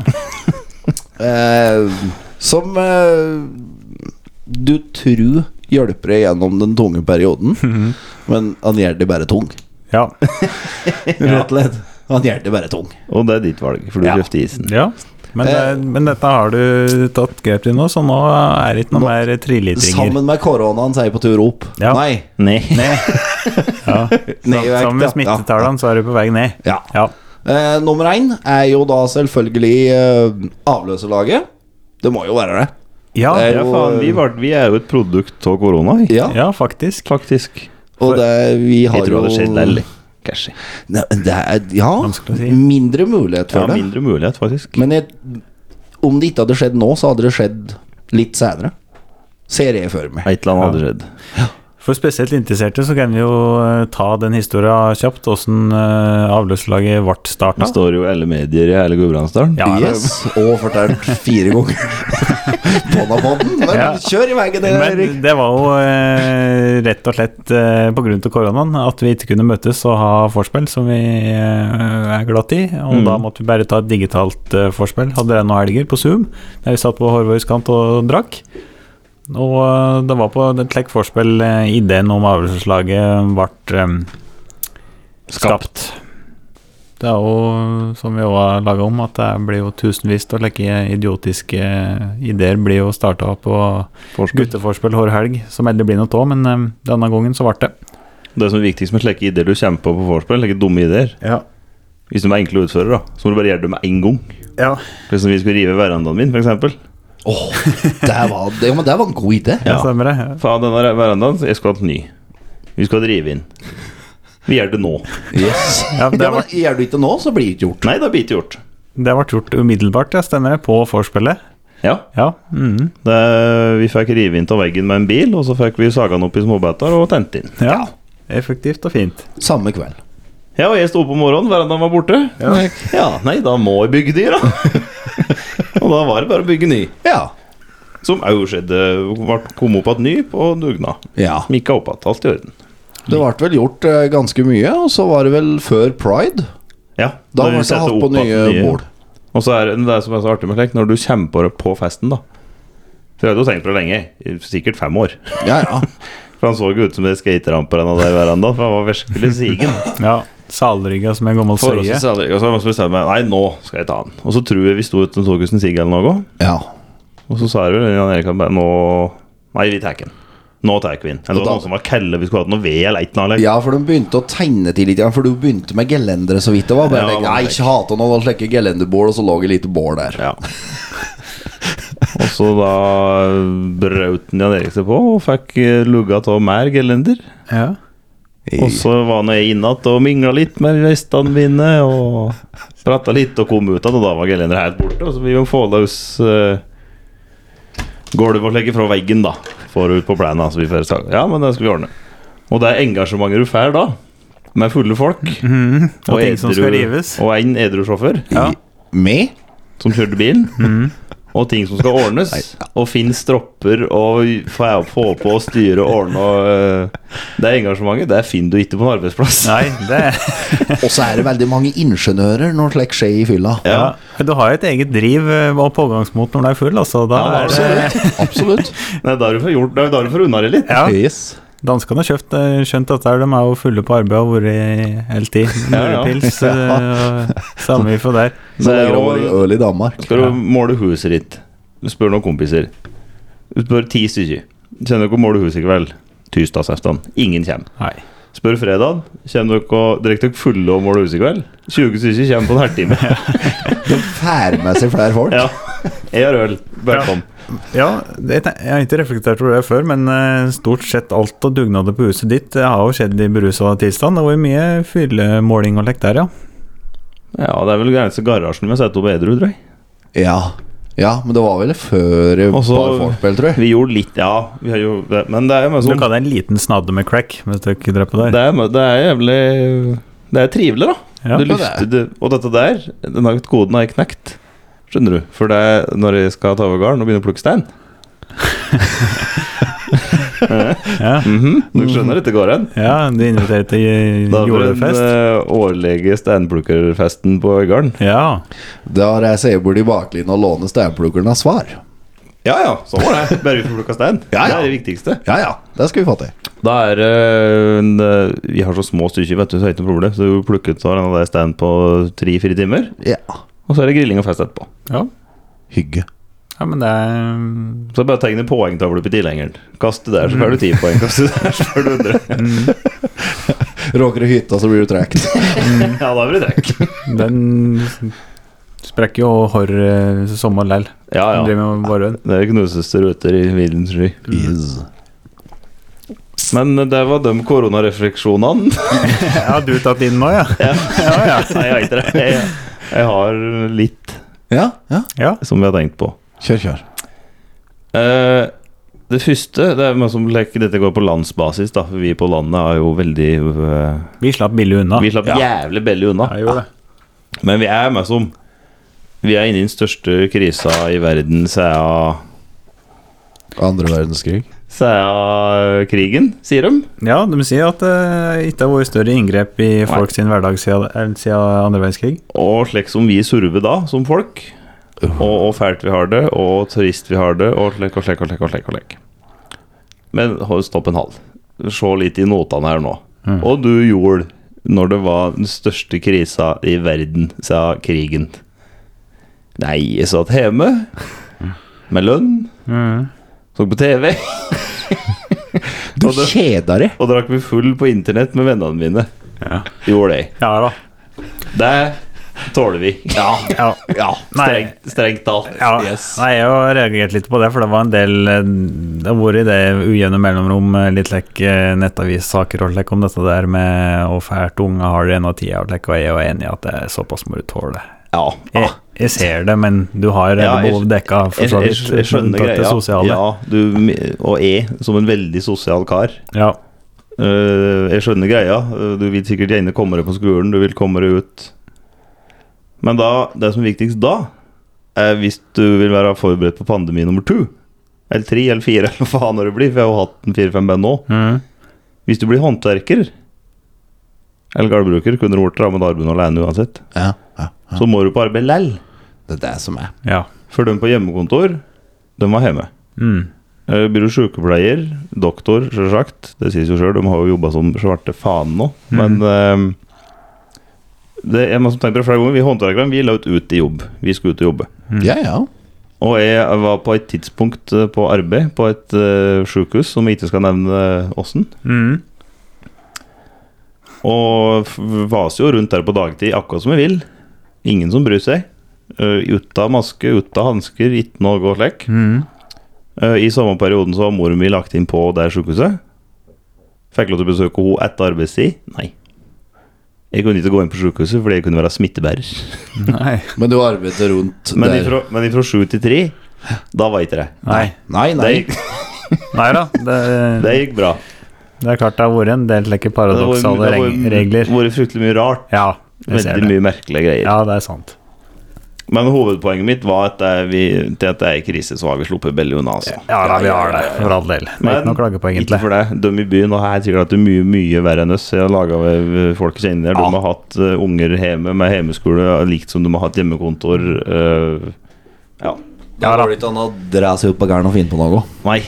[SPEAKER 3] Som eh, du tror hjelper deg gjennom den tunge perioden Men han gjør det bare tung
[SPEAKER 2] Ja.
[SPEAKER 3] Rett og slett Han hjelper bare tung.
[SPEAKER 1] Og det er ditt valg, for du
[SPEAKER 3] Ja.
[SPEAKER 1] kjøpte isen.
[SPEAKER 2] Ja, men,
[SPEAKER 3] Eh.
[SPEAKER 2] det, men dette har du tatt grep til nå, så nå er det ikke noe mer trilitringer.
[SPEAKER 3] Sammen med koronaen, sier jeg på tur opp.
[SPEAKER 2] Ja.
[SPEAKER 3] Nei.
[SPEAKER 1] Nei.
[SPEAKER 2] [laughs] Ja.
[SPEAKER 3] [laughs] Ned i vekt,
[SPEAKER 2] Sammen
[SPEAKER 3] ja.
[SPEAKER 2] med smittetallene så er du på vei ned.
[SPEAKER 3] Ja.
[SPEAKER 2] Ja.
[SPEAKER 3] Eh, nummer én er jo da selvfølgelig eh, avløserlaget. Det må jo være det.
[SPEAKER 2] Ja,
[SPEAKER 3] Det er
[SPEAKER 1] Ja,
[SPEAKER 3] jo-
[SPEAKER 1] faen, vi, var, vi er jo et produkt av korona, vi.
[SPEAKER 3] Ja,
[SPEAKER 2] ja, faktisk.
[SPEAKER 1] faktisk.
[SPEAKER 3] Og det, vi har
[SPEAKER 1] Jeg tror det
[SPEAKER 3] jo
[SPEAKER 1] skjer lell. Kanskje.
[SPEAKER 3] Nei, det er, ja,
[SPEAKER 2] Vanskelig å si.
[SPEAKER 3] mindre mulighet
[SPEAKER 1] Ja,
[SPEAKER 3] for det.
[SPEAKER 1] mindre mulighet, faktisk.
[SPEAKER 3] Men jeg, om det ikke hadde skjedd nå, så hadde det skjedd litt senere. Ser jeg for meg.
[SPEAKER 1] Et eller annet hadde skjedd.
[SPEAKER 2] For spesielt interesserte så kan vi jo eh, ta den historien kjapt, åssen avløpslaget ble
[SPEAKER 1] Det
[SPEAKER 2] starta.
[SPEAKER 1] står jo alle medier i hele Gudbrandsdalen.
[SPEAKER 2] Ja, ja.
[SPEAKER 3] Yes, og fortalt fire ganger på Naboden. Men
[SPEAKER 2] Ja.
[SPEAKER 3] kjør i veien, dere, Erik.
[SPEAKER 2] Men det var jo eh, rett og slett eh, på grunn til koronaen at vi ikke kunne møtes og ha forspill, som vi eh, er glatt i. Og da måtte vi bare ta et digitalt eh, forspill. Hadde det noen helger på Zoom, der vi satt på Horvøys kant og drakk. Og eh, det var på et slikt forspill eh, ideen om avløserslaget ble eh, skapt. Det er jo, som vi òg har laga om, at det blir jo tusenvis av slike idiotiske eh, ideer blir jo starta på
[SPEAKER 1] Forskudd.
[SPEAKER 2] gutteforspill hver helg, som aldri blir noe av, men eh, denne gangen så ble det.
[SPEAKER 1] Det som er viktigst med slike ideer du kommer på på vorspiel, slike dumme ideer Hvis de er enkle å utføre, da, så må du bare gjøre det med en gang.
[SPEAKER 2] Ja.
[SPEAKER 1] Hvis vi skulle rive verandaen min, f.eks.
[SPEAKER 3] Åh, det, var, det, ja, men det var en god idé.
[SPEAKER 2] Det stemmer, det.
[SPEAKER 1] Faen, denne verandaen, jeg skulle hatt ny. Vi skal drive inn. Vi gjør det nå.
[SPEAKER 3] Yes.
[SPEAKER 2] Ja, det
[SPEAKER 3] Ja,
[SPEAKER 2] var-
[SPEAKER 3] men Gjør du ikke nå, så blir det ikke gjort.
[SPEAKER 1] Nei, det har vi ikke gjort.
[SPEAKER 2] Det ble gjort umiddelbart, ja, stemmer det, på vorspielet.
[SPEAKER 1] Ja,
[SPEAKER 2] Ja. mhm.
[SPEAKER 1] det, Vi fikk rive inn av veggen med en bil, og så fikk vi saga den opp i småbiter og tent inn.
[SPEAKER 2] ja. Effektivt og fint.
[SPEAKER 3] Samme kveld.
[SPEAKER 1] Ja, og jeg sto opp om morgenen, verandaen var borte. Ja. Nei, da må jeg bygge [laughs] ny, da. og da var det bare å bygge ny.
[SPEAKER 3] Ja.
[SPEAKER 1] Som òg skjedde. Ble kom opp igjen ny på dugnad.
[SPEAKER 3] ja.
[SPEAKER 1] Mikka opp igjen. Alt i orden.
[SPEAKER 3] Det ble vel gjort eh, ganske mye, og så var det vel før pride.
[SPEAKER 1] Ja,
[SPEAKER 3] Da
[SPEAKER 1] når
[SPEAKER 3] ble
[SPEAKER 1] vi
[SPEAKER 3] det
[SPEAKER 1] setter
[SPEAKER 3] hatt
[SPEAKER 1] opp
[SPEAKER 3] på
[SPEAKER 1] at
[SPEAKER 3] nye
[SPEAKER 1] de-
[SPEAKER 3] mål.
[SPEAKER 1] Og så er det det som er så artig med slikt, når du kommer på det på festen, da For jeg hadde jo tenkt på det lenge, i sikkert fem år.
[SPEAKER 3] Ja, ja.
[SPEAKER 1] For han så jo ut som en skateramper en av de verandaen, for han var virkelig sigen.
[SPEAKER 2] Ja. Salrygga som en gammel søye.
[SPEAKER 1] Forholdsvis aldri, og så var jeg bestemt meg Nei, nå skal jeg ta han. Og så tror jeg vi sto ute og så hvordan sigg eller noe,
[SPEAKER 3] ja.
[SPEAKER 1] og så sa jeg vel Jan Erik at bare, nå Nei, vi tar den. Nå tar vi den. Eller det var
[SPEAKER 3] da-
[SPEAKER 1] noen som var kelle, vi skulle hatt noe ved eller et eller annet.
[SPEAKER 3] Ja, for de begynte å tegne til litt, ja, for du begynte med gelendere så vidt det var. Bare
[SPEAKER 1] Ja,
[SPEAKER 3] tenk,
[SPEAKER 1] men-
[SPEAKER 3] nei, ikke hate noen å slekke gelenderbål, og så lå det lite bål der.
[SPEAKER 1] Ja. og så da brøt han Jan Erik seg på og fikk eh, lugga av mer gelender.
[SPEAKER 2] Ja.
[SPEAKER 1] Og så var nå jeg inne igjen og mingla litt med vestene mine og prata litt og kom ut igjen, og da var gelenderet helt borte. Og så vi må få løs eh, gulvet og legge fra veggen, da, forut på plenen. Så vi får sagt ja, men det skal vi ordne. Og det engasjementet du får da, med fulle folk
[SPEAKER 2] Og ting som skal
[SPEAKER 1] Mm, edru-
[SPEAKER 2] rives.
[SPEAKER 1] og en edru sjåfør
[SPEAKER 2] Ja.
[SPEAKER 3] Med?
[SPEAKER 1] som kjørte bilen,
[SPEAKER 2] Mm.
[SPEAKER 1] og ting som skal ordnes, og finn stropper og få få på å styre og ordne og eh, Det engasjementet, det finner du ikke på en arbeidsplass.
[SPEAKER 2] Nei, det
[SPEAKER 3] Og så er det veldig mange ingeniører når slikt skjer i fylla.
[SPEAKER 1] [laughs] Ja.
[SPEAKER 2] Men Du har jo et eget driv eh, og pågangsmot når du er full, altså. Da
[SPEAKER 1] Ja,
[SPEAKER 2] er det
[SPEAKER 3] Absolutt. Absolutt.
[SPEAKER 1] Nei, da har du fått gjort- da- da har du fått unna det litt.
[SPEAKER 2] Ja.
[SPEAKER 3] Yes.
[SPEAKER 2] Danskene har kjøpt, eh, skjønt at der, de er jo fulle på arbeid og har vært i hele tid.
[SPEAKER 1] [laughs] Ja, ja.
[SPEAKER 2] Nørepils, eh, samme vi får der.
[SPEAKER 3] Så det er
[SPEAKER 1] jo-
[SPEAKER 3] over øl i Danmark.
[SPEAKER 1] Skal du måle huset ditt, du spør noen kompiser. Du spør ti stykker. Kjenner dere å måle huset i kveld? Tirsdagsaften. Ingen kommer.
[SPEAKER 2] Nei.
[SPEAKER 1] Spør fredag. Kjenner dere å drikke dere fulle og måle huset i kveld? 20 stykker kommer på en [laughs] halvtime.
[SPEAKER 3] De fær med seg flere folk.
[SPEAKER 1] Ja. Jeg har øl. Bare
[SPEAKER 2] Ja.
[SPEAKER 1] kom.
[SPEAKER 2] Ja, det, jeg har ikke reflektert over det før, men eh, stort sett alt av dugnader på huset ditt eh, har jo skjedd i berusa tilstand. Det var jo mye fyllemåling og lekt der, ja.
[SPEAKER 1] Ja, det er vel grense garasjen vi har satt opp edru, tror jeg.
[SPEAKER 3] Ja. ja, men det var vel før et
[SPEAKER 1] Og så-
[SPEAKER 3] par vorspiel, tror jeg.
[SPEAKER 1] Vi gjorde litt, ja. Vi har jo det. Men det er jo mye
[SPEAKER 2] Du
[SPEAKER 1] sånn
[SPEAKER 2] kan ha en liten snadde med crack hvis du ikke drar på der.
[SPEAKER 1] det er, det er jævlig Det er trivelig, da.
[SPEAKER 2] Ja.
[SPEAKER 1] du
[SPEAKER 3] det er
[SPEAKER 1] lyster, du, og dette der, denne koden har jeg knekt. Skjønner du? For det er når jeg skal ta over gården og begynne å plukke stein.
[SPEAKER 2] Ja.
[SPEAKER 1] Mhm, Du skjønner dette går hen?
[SPEAKER 2] ja, du inviterer til eh,
[SPEAKER 1] Da var det den
[SPEAKER 2] julefest.
[SPEAKER 1] eh, årlige steinplukkerfesten på Øygarden.
[SPEAKER 2] Ja.
[SPEAKER 3] Da har jeg seg bort i baklinja og låne steinplukkeren av svar.
[SPEAKER 1] Ja ja, sånn var det. Bare vi får plukka stein.
[SPEAKER 3] Ja, ja.
[SPEAKER 1] Det er det viktigste.
[SPEAKER 3] Ja ja, det skal vi få til.
[SPEAKER 1] Da er det en, eh, Vi har så små stykker, vet du, så er det ikke noe problem. Så du plukker ut av den der stand på tre-fire timer,
[SPEAKER 3] Ja.
[SPEAKER 1] og så er det grilling og fest etterpå.
[SPEAKER 2] Ja.
[SPEAKER 3] Hygge.
[SPEAKER 2] ja, men det er
[SPEAKER 1] Så er det bare å tegne poengtavle på tilhengeren. Kast det der, så får du ti poeng. Kast det der, så får du 100.
[SPEAKER 2] mm,
[SPEAKER 3] Råker du hytta, så blir du trukket.
[SPEAKER 1] Ja, da blir det trekk.
[SPEAKER 2] Den sprekker jo hår eh, sommer lell.
[SPEAKER 1] Ja,
[SPEAKER 2] Den
[SPEAKER 1] ja.
[SPEAKER 2] Driver med varøen.
[SPEAKER 1] Det knuses til ruter i villens sky.
[SPEAKER 3] Yes.
[SPEAKER 1] Men eh, det var de koronarefleksjonene.
[SPEAKER 2] Ja, du tatt inn nå, ja?
[SPEAKER 1] [laughs] Nei, jeg har ikke det. Jeg, jeg har litt
[SPEAKER 3] Ja, ja.
[SPEAKER 2] Ja.
[SPEAKER 1] som vi har tenkt på.
[SPEAKER 3] Kjør, kjør.
[SPEAKER 1] Eh, det første det er med som leker, Dette går på landsbasis, da, for vi på landet er jo veldig eh,
[SPEAKER 2] Vi slapp billig unna.
[SPEAKER 1] Vi slapp jævlig billig unna.
[SPEAKER 2] Ja, jeg gjorde det.
[SPEAKER 1] Men vi er med som Vi er inne i den største krisa i verden siden
[SPEAKER 3] Andre verdenskrig.
[SPEAKER 1] siden krigen, sier de.
[SPEAKER 2] Ja, de sier at det ikke har vært større inngrep i folk sin hverdag siden, eller siden andre verdenskrig.
[SPEAKER 1] Og slik som vi surver da, som folk. Og hvor fælt vi har det, og trist vi har det, og slik og slik og slik. og slik og slik. Men hold- stopp en halv. Se litt i notene her nå.
[SPEAKER 2] Mm.
[SPEAKER 1] Og du gjorde når det var den største krisa i verden siden krigen. Nei, jeg satt
[SPEAKER 2] [laughs]
[SPEAKER 1] hjemme med lønn,
[SPEAKER 2] Mm.
[SPEAKER 1] så på TV
[SPEAKER 3] Du
[SPEAKER 1] Og det-
[SPEAKER 3] kjeda deg.
[SPEAKER 1] [laughs] og drakk meg full på internett med vennene mine. Gjorde det.
[SPEAKER 2] Ja da.
[SPEAKER 1] Det tåler vi. Ja,
[SPEAKER 2] Ja.
[SPEAKER 1] [laughs]
[SPEAKER 3] Ja.
[SPEAKER 2] Nei,
[SPEAKER 1] Strengt, strengt talt.
[SPEAKER 2] ja. Nei, jeg har reagert litt på det, for det var en del eh, Det har vært i det ujevne mellomrom eh, litt lekk eh, nettavissaker og lekk om dette der med hvor fælt unge har det en av tida, og lekk, og jeg er jo enig i at det er såpass må du tåle.
[SPEAKER 1] Ja.
[SPEAKER 2] Jeg, jeg ser det, men du har
[SPEAKER 1] Ah. Ja, jeg-
[SPEAKER 2] behov dekka for
[SPEAKER 1] Jeg,
[SPEAKER 2] så
[SPEAKER 1] jeg,
[SPEAKER 2] vidt.
[SPEAKER 1] jeg skjønner
[SPEAKER 2] unntatt det
[SPEAKER 1] greia.
[SPEAKER 2] sosiale.
[SPEAKER 1] Ja, du, og jeg, som en veldig sosial kar
[SPEAKER 2] Ja.
[SPEAKER 1] øh, Jeg skjønner greia. Øh, Du vil sikkert gjerne komme deg på skolen, du vil komme deg ut. Men da, det som er viktigst da, er hvis du vil være forberedt på pandemi nummer to. Eller tre eller fire, [laughs] eller hva faen når det blir. For jeg har jo hatt en fire-fem band nå.
[SPEAKER 2] Mm.
[SPEAKER 1] Hvis du blir håndverker eller gardbruker, kunne du vært rammet av armen alene uansett.
[SPEAKER 3] Ja, ja.
[SPEAKER 1] Så må du på arbeid lell.
[SPEAKER 3] Det er det som er.
[SPEAKER 2] ja.
[SPEAKER 1] For de på hjemmekontor, de var hjemme.
[SPEAKER 2] Mm.
[SPEAKER 1] Eh, Blir du sykepleier, doktor, selvsagt. Det sies jo sjøl, de har jo jobba som svarte faen nå. Men eh, det er noe som tenker på flere ganger. Vi håndverkere vi la ut ut i jobb. Vi skulle ut og jobbe.
[SPEAKER 3] Mm. Ja, ja.
[SPEAKER 1] Og jeg var på et tidspunkt eh, på arbeid på et uh, sjukehus som jeg ikke skal nevne eh, åssen.
[SPEAKER 2] Mm.
[SPEAKER 1] Og f- vaser jo rundt der på dagtid akkurat som jeg vil. Ingen som bryr seg. Uh, uten maske, uten hansker, ikke noe og slik.
[SPEAKER 2] Mm.
[SPEAKER 1] Eh, I samme perioden så var mor mi lagt inn på det sykehuset. Fikk lov til å besøke henne etter arbeidstid. Nei. Jeg kunne ikke gå inn på sykehuset fordi jeg kunne være
[SPEAKER 2] [laughs]
[SPEAKER 1] smittebærer.
[SPEAKER 2] Nei.
[SPEAKER 3] Men du arbeider rundt
[SPEAKER 1] Men
[SPEAKER 3] der.
[SPEAKER 1] ifra, men ifra sju til tre, da var ikke det.
[SPEAKER 2] Nei.
[SPEAKER 3] Nei,
[SPEAKER 1] Det
[SPEAKER 3] nei.
[SPEAKER 1] gikk,
[SPEAKER 2] Nei da. Det,
[SPEAKER 1] det gikk bra.
[SPEAKER 2] det er klart det har vært en del like
[SPEAKER 1] Det var- det
[SPEAKER 2] [laughs] paradoksale
[SPEAKER 1] var-
[SPEAKER 2] reg- regler.
[SPEAKER 1] Det var fryktelig mye rart.
[SPEAKER 2] Ja, jeg ser
[SPEAKER 1] Veldig
[SPEAKER 2] det.
[SPEAKER 1] mye merkelige greier.
[SPEAKER 2] Ja, det er sant.
[SPEAKER 1] Men hovedpoenget mitt var at det er vi, til at det er i krise, så har vi sluppet veldig unna. Altså.
[SPEAKER 2] Ja da, vi har det, for all del. Det er ikke noe å klage på,
[SPEAKER 1] Ikke
[SPEAKER 2] egentlig.
[SPEAKER 1] for det. De i byen og her sikkert at det er mye mye verre enn oss. Jeg har laga folk som er inni der. De har hatt eh, unger hjemme med hjemmeskole, likt som de har hatt hjemmekontor. eh, ja.
[SPEAKER 3] Da går det ikke an å dra seg opp på gæren og finne på noe.
[SPEAKER 1] Nei.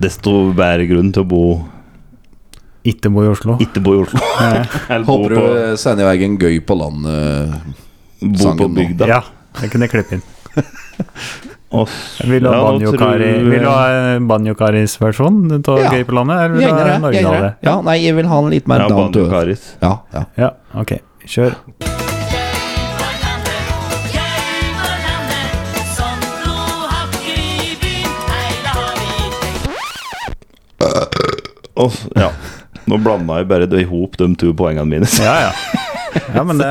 [SPEAKER 1] Desto bedre grunn til å bo
[SPEAKER 2] Ikke bo i Oslo.
[SPEAKER 1] ikke bo i Oslo. [laughs] Eller bo
[SPEAKER 3] Håper
[SPEAKER 1] på,
[SPEAKER 3] du sender i vei en gøy på landet.
[SPEAKER 1] bo
[SPEAKER 3] sangen
[SPEAKER 1] på
[SPEAKER 3] nå.
[SPEAKER 1] bygda.
[SPEAKER 2] Ja, det kunne jeg klippe inn.
[SPEAKER 1] Og-
[SPEAKER 2] Vil du ha
[SPEAKER 1] Ja, nå tror
[SPEAKER 2] Banjo-Kari-
[SPEAKER 1] jeg-
[SPEAKER 2] vil du ha Banjo-Karis versjon av
[SPEAKER 3] Ja.
[SPEAKER 2] Gøy på landet, eller vil du ha den originale?
[SPEAKER 3] Ja, nei, jeg vil ha en litt mer
[SPEAKER 1] ja,
[SPEAKER 3] down to earth.
[SPEAKER 1] Banjo-Karis.
[SPEAKER 3] Ja, ja.
[SPEAKER 2] Ja, ok. Kjør.
[SPEAKER 1] Å, ja. Nå blanda jeg bare i hop de to poengene mine.
[SPEAKER 3] [laughs]
[SPEAKER 2] Ja, ja. Ja, men det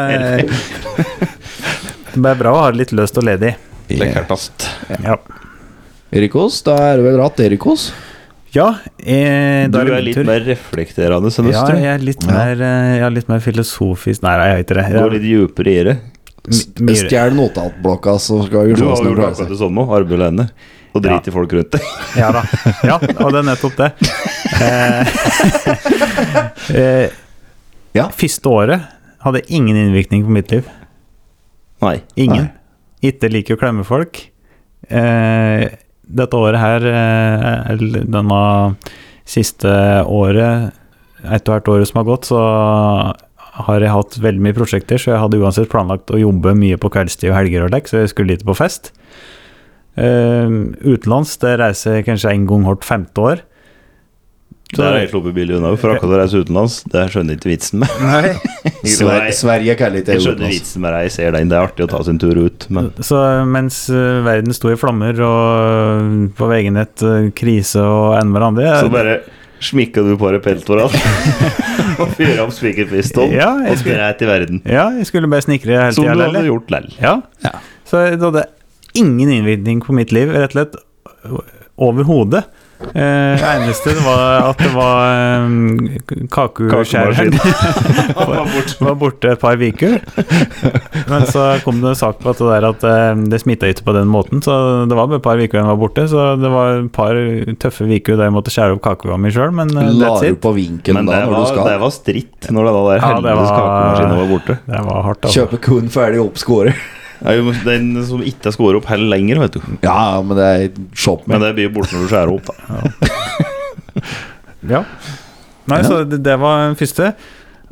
[SPEAKER 2] Det er bra å ha det litt løst og ledig.
[SPEAKER 1] Lekkertast.
[SPEAKER 2] Ja.
[SPEAKER 3] Erikos, da er det vel rett Erikos?
[SPEAKER 2] Ja, eh,
[SPEAKER 1] Du
[SPEAKER 2] da
[SPEAKER 1] er
[SPEAKER 2] min
[SPEAKER 1] litt
[SPEAKER 2] tur.
[SPEAKER 1] mer reflekterende enn oss,
[SPEAKER 2] Ja,
[SPEAKER 1] tror
[SPEAKER 2] jeg
[SPEAKER 1] jeg.
[SPEAKER 2] er litt mer, eh, jeg er litt mer filosofisk Nei, nei, jeg er ikke det.
[SPEAKER 1] Går litt dypere i det.
[SPEAKER 2] litt mye,
[SPEAKER 3] Stjel notatblokka, så skal vi
[SPEAKER 1] Du
[SPEAKER 3] se
[SPEAKER 1] har
[SPEAKER 3] åssen
[SPEAKER 1] jo
[SPEAKER 3] det
[SPEAKER 1] gjort
[SPEAKER 3] pleier
[SPEAKER 1] akkurat
[SPEAKER 3] seg.
[SPEAKER 1] det samme, arbeid alene. Og drit i folk rundt deg. [laughs]
[SPEAKER 2] Ja da. Ja, og det er nettopp [laughs] det. Eh, [laughs] eh,
[SPEAKER 3] Ja.
[SPEAKER 2] Første året hadde ingen innvirkning på mitt liv.
[SPEAKER 1] Nei.
[SPEAKER 2] Ingen. Ikke liker å klemme folk. Eh, dette året her, eh, eller denne siste året, etter hvert året som har gått, så har jeg hatt veldig mye prosjekter, så jeg hadde uansett planlagt å jobbe mye på kveldstid og helger og lekk, så jeg skulle lite på fest. Eh, utenlands, det reiser jeg kanskje en gang hvert femte år.
[SPEAKER 1] Så Der har jeg sluppet billig unna, for akkurat å reise utenlands, det skjønner jeg ikke vitsen med. [laughs]
[SPEAKER 3] Nei. Sver Sverige kaller ikke
[SPEAKER 1] Jeg
[SPEAKER 3] det
[SPEAKER 1] skjønner
[SPEAKER 3] utenlands.
[SPEAKER 1] vitsen med det, jeg ser den, det er artig å ta sin tur ut, men
[SPEAKER 2] Så mens eh, verden sto i flammer og eh, på veggene et eh, krise og enn hverandre
[SPEAKER 1] Så bare smikka du på deg peltåra
[SPEAKER 2] [laughs]
[SPEAKER 1] og fyra opp spikerpistolen
[SPEAKER 2] Ja, jeg
[SPEAKER 1] og
[SPEAKER 2] skulle-
[SPEAKER 1] sprei til verden.
[SPEAKER 2] Ja, jeg skulle bare snikre hele
[SPEAKER 1] Som
[SPEAKER 2] tida.
[SPEAKER 1] du hadde gjort lell.
[SPEAKER 2] Ja.
[SPEAKER 3] Ja.
[SPEAKER 2] Så det hadde ingen innvirkning på mitt liv, rett og slett. Overhodet. Eh, det eneste var at det var um,
[SPEAKER 1] [laughs]
[SPEAKER 2] kakeskjæreren var borte et par uker. Men så kom det en sak på at det, der at eh, det smitta ikke på den måten, så det var bare et par uker den var borte. Så det var et par tøffe uker der jeg måtte skjære opp kakegåa mi sjøl, men eh,
[SPEAKER 3] La
[SPEAKER 2] that's
[SPEAKER 3] du
[SPEAKER 2] it.
[SPEAKER 3] på vinken
[SPEAKER 1] Men
[SPEAKER 3] da
[SPEAKER 1] det
[SPEAKER 3] når du
[SPEAKER 1] var,
[SPEAKER 3] skal?
[SPEAKER 1] det var stritt når den der
[SPEAKER 2] Ja, det
[SPEAKER 1] helvetes
[SPEAKER 2] var-
[SPEAKER 1] kakemaskinen var borte.
[SPEAKER 2] Det var hardt, altså.
[SPEAKER 3] Kjøpe kun ferdig oppskåret.
[SPEAKER 1] Ja, jo, men Den som ikke skårer opp heller lenger, vet du.
[SPEAKER 3] Ja, men det er shop
[SPEAKER 1] Men
[SPEAKER 3] med.
[SPEAKER 1] det blir jo borte når du skjærer opp, da.
[SPEAKER 2] Ja. Nei,
[SPEAKER 3] Ja.
[SPEAKER 2] så det, det var den første.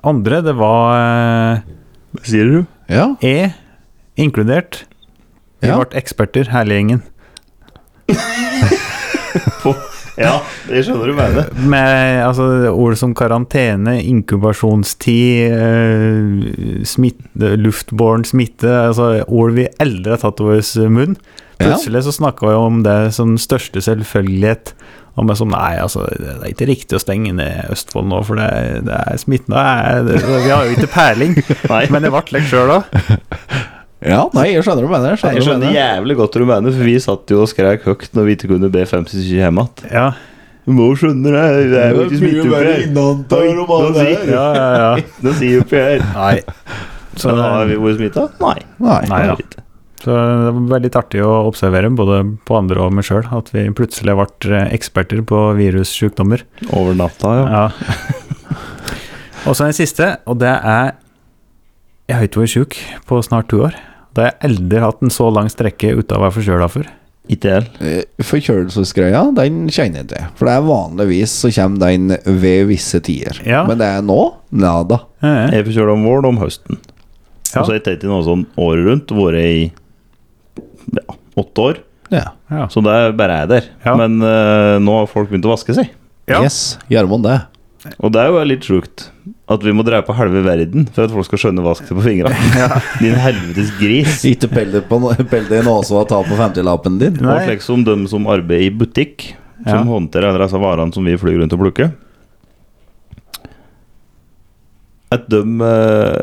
[SPEAKER 2] Andre, det var eh,
[SPEAKER 1] Sier du?
[SPEAKER 3] Ja,
[SPEAKER 2] E, inkludert. Vi
[SPEAKER 3] Ja.
[SPEAKER 2] ble eksperter, hele gjengen.
[SPEAKER 1] Ja, det skjønner du mener.
[SPEAKER 2] Med altså, ord som karantene, inkubasjonstid, eh, smitte, luftbåren smitte altså, Ord vi aldri har tatt over vår munn.
[SPEAKER 3] Ja.
[SPEAKER 2] Plutselig så snakka vi om det som største selvfølgelighet. Og med sånn Nei, altså, det er ikke riktig å stenge ned Østfold nå, for det, er- det er smitten Nei, det, vi har jo ikke
[SPEAKER 3] [laughs]
[SPEAKER 2] peiling.
[SPEAKER 1] Nei,
[SPEAKER 2] Men det ble litt sjøl òg.
[SPEAKER 3] ja nei, jeg skjønner hva du mener. Jeg
[SPEAKER 1] jeg
[SPEAKER 3] skjønner hva du
[SPEAKER 1] skjønner
[SPEAKER 3] mener.
[SPEAKER 1] jævlig godt hva du mener, for vi satt jo og skrek høyt når vi ikke kunne be 50 syke hjemme igjen.
[SPEAKER 2] Ja,
[SPEAKER 1] Du må jo skjønne det, det er jo ikke smitteuke.
[SPEAKER 3] innantar om alle
[SPEAKER 1] Nå sier-
[SPEAKER 3] her.
[SPEAKER 2] ja, ja.
[SPEAKER 1] [laughs]
[SPEAKER 2] ja.
[SPEAKER 1] Det sier jo ikke [laughs] jeg.
[SPEAKER 2] Nei. Så,
[SPEAKER 1] Men har vi vært smitta? Nei.
[SPEAKER 2] Nei,
[SPEAKER 3] Nei.
[SPEAKER 1] det
[SPEAKER 2] ja.
[SPEAKER 1] har vi ikke.
[SPEAKER 2] så det var veldig artig å observere, både på andre og meg sjøl, at vi plutselig ble eh, eksperter på virussykdommer.
[SPEAKER 1] Over natta, ja.
[SPEAKER 2] Ja. og så den siste, og det er Jeg har ikke vært sjuk på snart to år. Da har jeg aldri hatt en så lang strekke uten å være forkjøla før.
[SPEAKER 1] Ikke jeg.
[SPEAKER 3] Eh, Forkjølelsesgreia, den kjenner jeg til. For det er vanligvis så kommer den ved visse tider.
[SPEAKER 2] Ja.
[SPEAKER 3] Men det er nå? Nada.
[SPEAKER 2] Ja,
[SPEAKER 1] Jeg forkjøler om våren og om høsten. Og
[SPEAKER 2] Ja.
[SPEAKER 1] så har jeg tatt inn noe sånn året rundt, vært i ja, åtte år.
[SPEAKER 3] Ja.
[SPEAKER 2] ja.
[SPEAKER 1] Så det er bare jeg der.
[SPEAKER 2] Ja.
[SPEAKER 1] Men eh, nå har folk begynt å vaske seg.
[SPEAKER 2] Ja.
[SPEAKER 3] Yes, Gjermund det.
[SPEAKER 1] Og det er jo litt sjukt at vi må drepe halve verden for at folk skal skjønne vask seg på fingrene. [laughs] Din helvetes gris.
[SPEAKER 3] Ikke pell det på no- pell det i nåsa og ta på 50-lappen din.
[SPEAKER 2] Nei.
[SPEAKER 1] Og slik som dem som arbeider i butikk, som
[SPEAKER 2] Ja.
[SPEAKER 1] håndterer alle disse varene som vi flyr rundt og plukker. At de eh,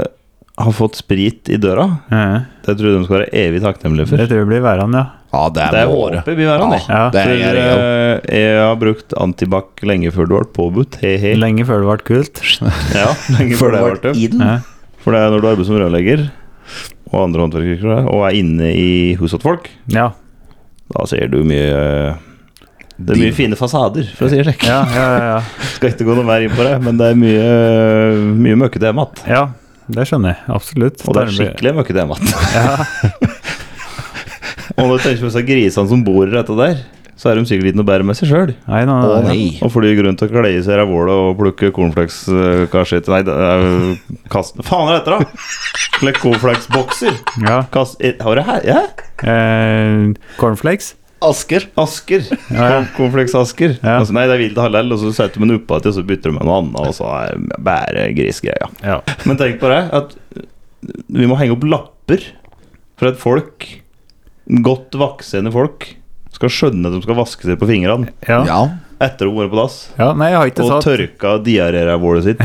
[SPEAKER 1] har fått sprit i døra,
[SPEAKER 2] Ja.
[SPEAKER 1] det tror jeg de skal være evig takknemlige for.
[SPEAKER 2] Det tror jeg blir værende, ja.
[SPEAKER 3] Ja, det
[SPEAKER 1] Det
[SPEAKER 3] er
[SPEAKER 1] er
[SPEAKER 3] måre.
[SPEAKER 1] håpet vi har an i.
[SPEAKER 2] Ja.
[SPEAKER 3] det er jeg jo.
[SPEAKER 1] For, eh, Jeg har brukt antibac lenge før du ble påbudt. He-he.
[SPEAKER 2] Lenge før det ble kult.
[SPEAKER 1] Ja, lenge før det ble det.
[SPEAKER 3] inn.
[SPEAKER 2] Ja.
[SPEAKER 1] For det er når du arbeider som rørlegger og andre håndverkere og er inne i huset til folk,
[SPEAKER 2] Ja.
[SPEAKER 1] da ser du mye eh, Det er mye fine fasader, for å si det slik.
[SPEAKER 2] Ja, ja, ja,
[SPEAKER 1] Skal ikke gå noe mer inn på det, men det er mye, mye møkkete mat.
[SPEAKER 2] ja. ja, det skjønner jeg. Absolutt.
[SPEAKER 1] Og det er skikkelig møkkete mat. [laughs] og når du tenker på disse grisene som bor i dette der, så er de sikkert ikke noe bedre med seg sjøl.
[SPEAKER 2] Nei, nei,
[SPEAKER 3] Å
[SPEAKER 2] nei, nei.
[SPEAKER 3] nei.
[SPEAKER 1] Og flyr rundt og kleier seg i rævhålet og plukker cornflakes eh, kanskje til Nei, det er jo kast... Faen er dette, da? Slekk cornflakesbokser.
[SPEAKER 2] Ja.
[SPEAKER 1] Kast... eh, Har du her? Ja?
[SPEAKER 2] Eh, cornflakes?
[SPEAKER 3] Asker.
[SPEAKER 1] Asker.
[SPEAKER 2] Ja.
[SPEAKER 1] Corn- Cornflakes-asker.
[SPEAKER 2] Ja.
[SPEAKER 1] Altså, nei, det er vilt halal, og så setter man oppå til, og så bytter man med noe annet, og så er det bare grisgreia.
[SPEAKER 2] Ja.
[SPEAKER 1] Men tenk på det, at vi må henge opp lapper for at folk, godt voksne folk, skal skjønne at de skal vaske seg på fingrene
[SPEAKER 2] Ja.
[SPEAKER 3] Ja.
[SPEAKER 1] etter å ha vært på dass.
[SPEAKER 2] Ja, nei, jeg har ikke
[SPEAKER 1] og
[SPEAKER 2] satt
[SPEAKER 1] tørka diaré-rævhålet sitt.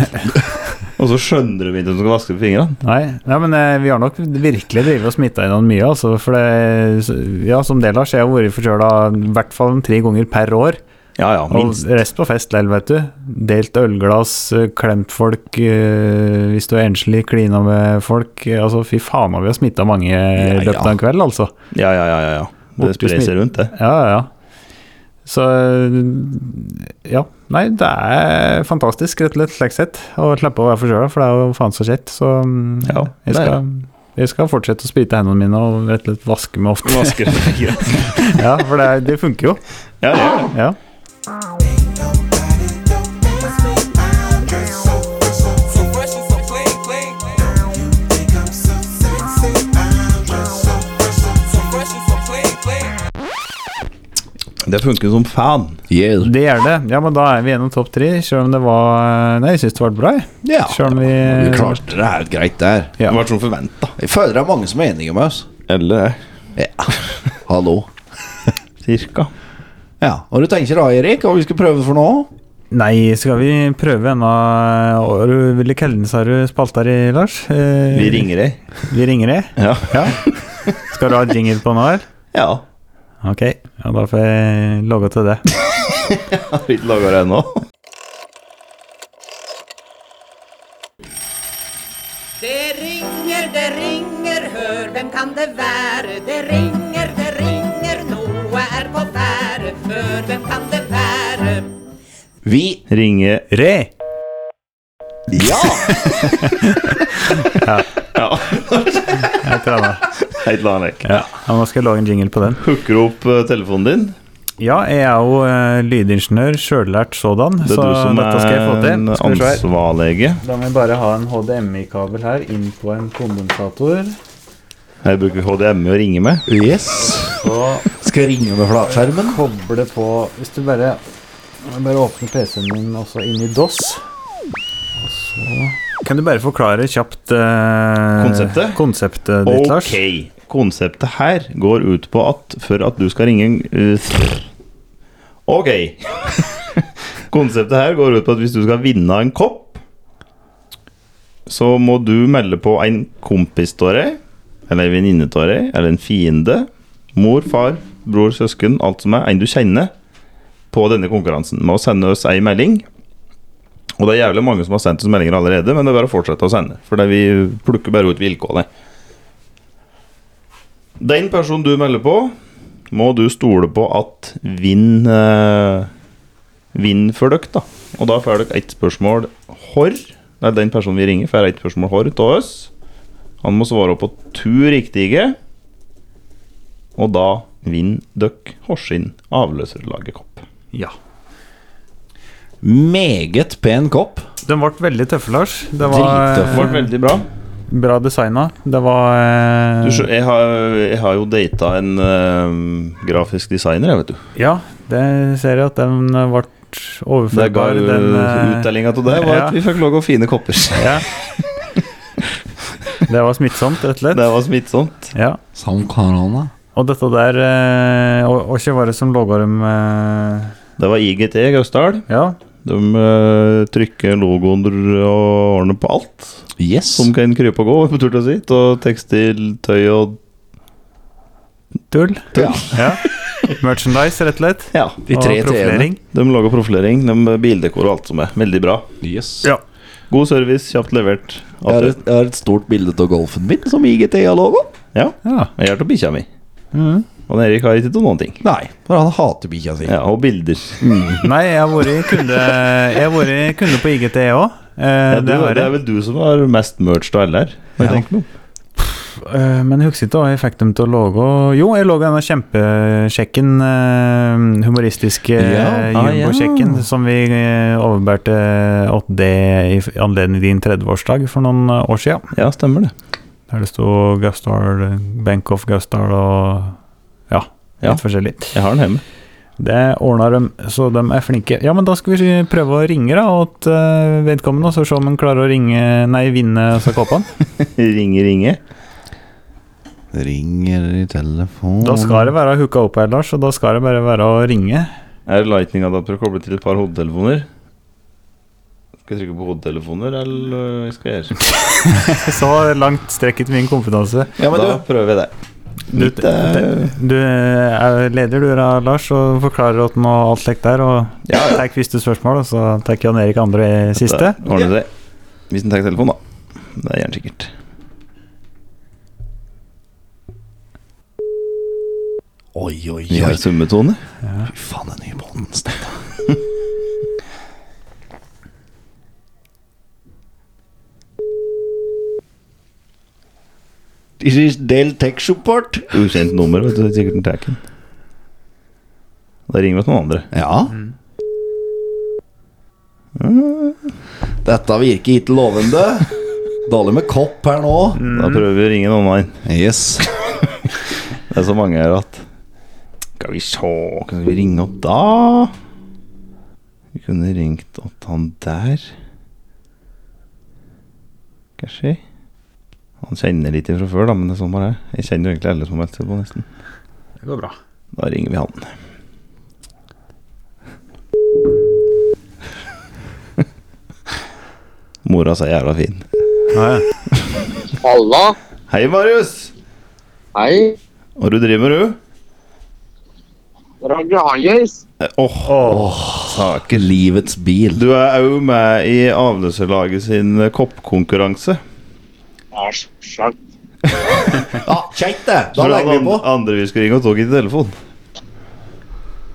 [SPEAKER 1] [laughs] og så skjønner de ikke at de skal vaske på fingrene.
[SPEAKER 2] Nei, nei men eh, vi har nok virkelig drevet og smitta innom mye, altså. For det Ja, som del av har vært forkjøla i hvert fall tre ganger per år.
[SPEAKER 1] Ja, ja,
[SPEAKER 2] Og
[SPEAKER 1] minst.
[SPEAKER 2] rest på fest lell, vet du. Delt ølglass, eh, klemt folk eh, hvis du er enslig, klina med folk. Eh, Altså, fy faen, har vi har smitta mange i
[SPEAKER 3] ja.
[SPEAKER 2] løpet av en kveld, altså.
[SPEAKER 1] Ja, ja, ja. ja, ja. Det
[SPEAKER 2] Borti
[SPEAKER 1] sprer seg rundt, det.
[SPEAKER 2] Ja, ja, ja. Så eh, Ja. Nei, det er fantastisk, rett og slett, slik sett. Å slippe å være forkjøla, for det er jo faen så kjett. Så mm,
[SPEAKER 1] Ja, det
[SPEAKER 2] jeg,
[SPEAKER 1] er
[SPEAKER 2] skal, jeg skal fortsette å sprite hendene mine og rett og slett vaske meg ofte.
[SPEAKER 1] [laughs]
[SPEAKER 2] [laughs]
[SPEAKER 1] Vasker på [laughs] fingrene.
[SPEAKER 2] ja, for det, er- det funker jo.
[SPEAKER 1] Ja, ja.
[SPEAKER 2] Ja.
[SPEAKER 5] Don't fight it.
[SPEAKER 1] Det funker som fan.
[SPEAKER 3] Yeah.
[SPEAKER 2] Det gjør det. Ja, men da er vi gjennom topp tre, selv om det var eh, Nei, jeg syns det var bra, jeg.
[SPEAKER 3] Ja,
[SPEAKER 2] Selv om vi
[SPEAKER 3] vi klarte det helt greit der.
[SPEAKER 2] Ja.
[SPEAKER 1] Det ble som forventa.
[SPEAKER 3] Jeg føler det er mange som er enige med oss.
[SPEAKER 1] Eller det.
[SPEAKER 3] Ja. Hallo.
[SPEAKER 1] Cirka.
[SPEAKER 3] Ja, Og du tenker da, Erik, hva vi skal prøve for nå?
[SPEAKER 2] Nei, skal vi prøve en av Hva du ville kalle den, sa du, spalta di, Lars? Eh,
[SPEAKER 1] Vi ringer ei.
[SPEAKER 2] Vi ringer i.
[SPEAKER 1] Ja.
[SPEAKER 2] Ja. Skal du ha jingle på nå, eller?
[SPEAKER 1] [laughs] ja.
[SPEAKER 2] Ok, ja, da får jeg logge til det.
[SPEAKER 1] Har vi ikke laga det [laughs] ennå?
[SPEAKER 4] Det ringer, det ringer, hør, hvem kan det være? Det ringer, det ringer, noe er på ferde. Hør, hvem kan det være?
[SPEAKER 3] Vi
[SPEAKER 1] Ringe
[SPEAKER 2] Re!
[SPEAKER 3] Ja!
[SPEAKER 2] Jeg tror det.
[SPEAKER 1] Helt annerledes.
[SPEAKER 2] Ja, ja, nå skal jeg lage en jingle på den.
[SPEAKER 1] Hooker du opp eh, telefonen din?
[SPEAKER 2] Ja, jeg er jo eh, lydingeniør, sjøllært sådan,
[SPEAKER 1] Det er
[SPEAKER 2] så
[SPEAKER 1] du som
[SPEAKER 2] dette skal jeg få
[SPEAKER 1] er
[SPEAKER 2] til.
[SPEAKER 1] en
[SPEAKER 2] Skal vi se her.
[SPEAKER 1] ansvarlege.
[SPEAKER 2] Da må jeg bare ha en HDMI-kabel her inn på en kondensator.
[SPEAKER 1] Her bruker vi HDMI å ringe med.
[SPEAKER 3] Yes.
[SPEAKER 2] Så
[SPEAKER 3] Skal jeg ringe med flatskjermen?
[SPEAKER 2] koble på Hvis du bare, bare åpner PC-en min også inn i DOS og så Kan du bare forklare kjapt eh,
[SPEAKER 1] Konseptet?
[SPEAKER 2] konseptet ditt, Lars?
[SPEAKER 1] Ok. Konseptet her går ut på at for at du skal ringe en eh, Ok. [laughs] Konseptet her går ut på at hvis du skal vinne en kopp, så må du melde på en kompis av deg, eller en venninne av deg, eller en fiende, mor, far, bror, søsken, alt som er, en du kjenner, på denne konkurransen med å sende oss ei melding. Og det er jævlig mange som har sendt oss meldinger allerede, men det er bare å fortsette å sende. For det vi plukker bare ut vilkårene. Den personen du melder på, må du stole på at vinn eh, Vinn for dere, da. Og da får dere ett spørsmål hår. Det er den personen vi ringer, får ett spørsmål hår av oss. Han må svare på to riktige, og da vinner dere Horsin avløserlagerkopp.
[SPEAKER 2] Ja.
[SPEAKER 3] Meget pen kopp.
[SPEAKER 2] Den ble veldig tøffe, Lars. Det
[SPEAKER 1] Det ble
[SPEAKER 2] var eh,
[SPEAKER 1] veldig bra.
[SPEAKER 2] bra designa. Det var eh,
[SPEAKER 1] Du, skjø- jeg, har, jeg har jo data en eh, grafisk designer, jeg, vet du.
[SPEAKER 2] Ja, det ser jeg at den ble
[SPEAKER 1] Det ga
[SPEAKER 2] overførbar. Den, eh,
[SPEAKER 1] uttellinga til det, var
[SPEAKER 2] ja.
[SPEAKER 1] at vi fikk lage fine kopper.
[SPEAKER 2] [laughs] ja. Det var smittsomt, rett og slett.
[SPEAKER 1] Det var smittsomt.
[SPEAKER 2] Ja.
[SPEAKER 3] Som korona.
[SPEAKER 2] Og dette der eh, Og og ikke var det som logga dem eh,
[SPEAKER 1] Det var IGT Gausdal.
[SPEAKER 2] Ja.
[SPEAKER 1] De eh, trykker logoer og ordner på alt
[SPEAKER 3] Yes.
[SPEAKER 1] som kan krype og gå, [laughs] på tur til å si. Og tekstil, tøy og
[SPEAKER 2] Tull.
[SPEAKER 3] Ja.
[SPEAKER 2] Ja. Merchandise, rett og slett.
[SPEAKER 1] Ja.
[SPEAKER 3] De tre
[SPEAKER 2] og
[SPEAKER 3] t-ene.
[SPEAKER 2] profilering.
[SPEAKER 1] De lager profilering, de eh, bildekor og alt som er. Veldig bra.
[SPEAKER 3] Yes.
[SPEAKER 2] Ja.
[SPEAKER 1] God service, kjapt levert.
[SPEAKER 3] Jeg har,
[SPEAKER 1] Alt det.
[SPEAKER 3] et, jeg har et stort bilde av golfen min som IGT-logo.
[SPEAKER 1] Ja.
[SPEAKER 2] ja.
[SPEAKER 1] Jeg har til bikkja mi.
[SPEAKER 2] Mhm.
[SPEAKER 1] Og Erik har ikke til noen ting.
[SPEAKER 3] Nei, for han hater bikkja si.
[SPEAKER 1] Ja, og
[SPEAKER 2] [laughs]
[SPEAKER 1] bilder.
[SPEAKER 2] Nei, jeg har vært kunde Jeg har vært kunde på IGT òg. Eh,
[SPEAKER 1] Ja, du,
[SPEAKER 2] det har
[SPEAKER 1] det er
[SPEAKER 2] jeg.
[SPEAKER 1] vel du som har mest merch av alle her. må jeg
[SPEAKER 2] Ja.
[SPEAKER 1] tenke meg om.
[SPEAKER 2] Eh, men jeg husker ikke hva jeg fikk dem til å logge. Jo, jeg logga denne kjempesjekken. eh, humoristiske eh,
[SPEAKER 1] Ja. Ah, ja.
[SPEAKER 2] jumbosjekken som vi eh, overbærte åt det i f- anledning din 30-årsdag for noen eh, år sia.
[SPEAKER 1] Ja, stemmer det.
[SPEAKER 2] Der det sto Gausdal, Bank of Gausdal og ja, litt
[SPEAKER 1] Ja.
[SPEAKER 2] forskjellig.
[SPEAKER 1] Jeg har den hjemme.
[SPEAKER 2] Det ordna de, så de er flinke. Ja, men da skal vi prøve å ringe da, åt eh, vedkommende, og så se om han klarer å ringe Nei, vinne disse kåpene.
[SPEAKER 1] ringe, ringe.
[SPEAKER 3] Ringer i telefonen
[SPEAKER 2] Da skal det være hooka opp her, Lars, og da skal det bare være å ringe. [laughs]
[SPEAKER 1] Er lightning-adapter koblet til et par hodetelefoner? Skal jeg trykke på hodetelefoner, eller øh, hva skal jeg gjøre?
[SPEAKER 2] Så langt strekket min kompetanse.
[SPEAKER 3] Ja, men
[SPEAKER 1] da
[SPEAKER 3] du,
[SPEAKER 1] prøver jeg det.
[SPEAKER 2] Du,
[SPEAKER 1] Mitt, øh,
[SPEAKER 2] du er leder, du da, Lars, og forklarer åt noe alt slikt der, og
[SPEAKER 1] Ja, ja.
[SPEAKER 2] tar første spørsmål, og så tar Jan Erik andre siste.
[SPEAKER 1] Da ordner det seg. Hvis den tar telefonen, da. Det er gjerne sikkert.
[SPEAKER 3] Oi, oi,
[SPEAKER 1] Vi
[SPEAKER 3] oi.
[SPEAKER 1] har summetone.
[SPEAKER 3] Fy faen, den nye båten stedet. This is Del Tech Support.
[SPEAKER 1] Ukjent nummer, vet du. det er Sikkert en taken. Da ringer vi til noen andre.
[SPEAKER 3] Ja.
[SPEAKER 1] Mm.
[SPEAKER 3] Dette virker ikke lovende. Dårlig med kopp her nå.
[SPEAKER 2] Mm.
[SPEAKER 1] Da prøver vi å ringe noen annen.
[SPEAKER 3] Yes.
[SPEAKER 1] Det er så mange her at Skal vi se Kan vi ringe opp da? Vi kunne ringt opp han der. Kanskje. Han kjenner litt fra før, da, men det er sånn bare er. Jeg kjenner jo egentlig alle som har meldt seg på, nesten.
[SPEAKER 2] Det går bra.
[SPEAKER 1] Da ringer vi han. Mora sa jævla fin.
[SPEAKER 2] Ja, ja.
[SPEAKER 5] Halla.
[SPEAKER 1] Hei, Marius.
[SPEAKER 5] Hei.
[SPEAKER 1] Hva du driver med, du?
[SPEAKER 5] Roger Hangis.
[SPEAKER 1] Eh, Åh,
[SPEAKER 3] Saker livets [laughs] bil.
[SPEAKER 1] Du er òg med i avløserlaget sin koppkonkurranse.
[SPEAKER 5] Æsj. Sjakt.
[SPEAKER 3] Ja, Ah, kjekt det! Da
[SPEAKER 1] For han
[SPEAKER 3] legger vi på.
[SPEAKER 1] an- andre vi skulle ringe, og tok ikke telefon.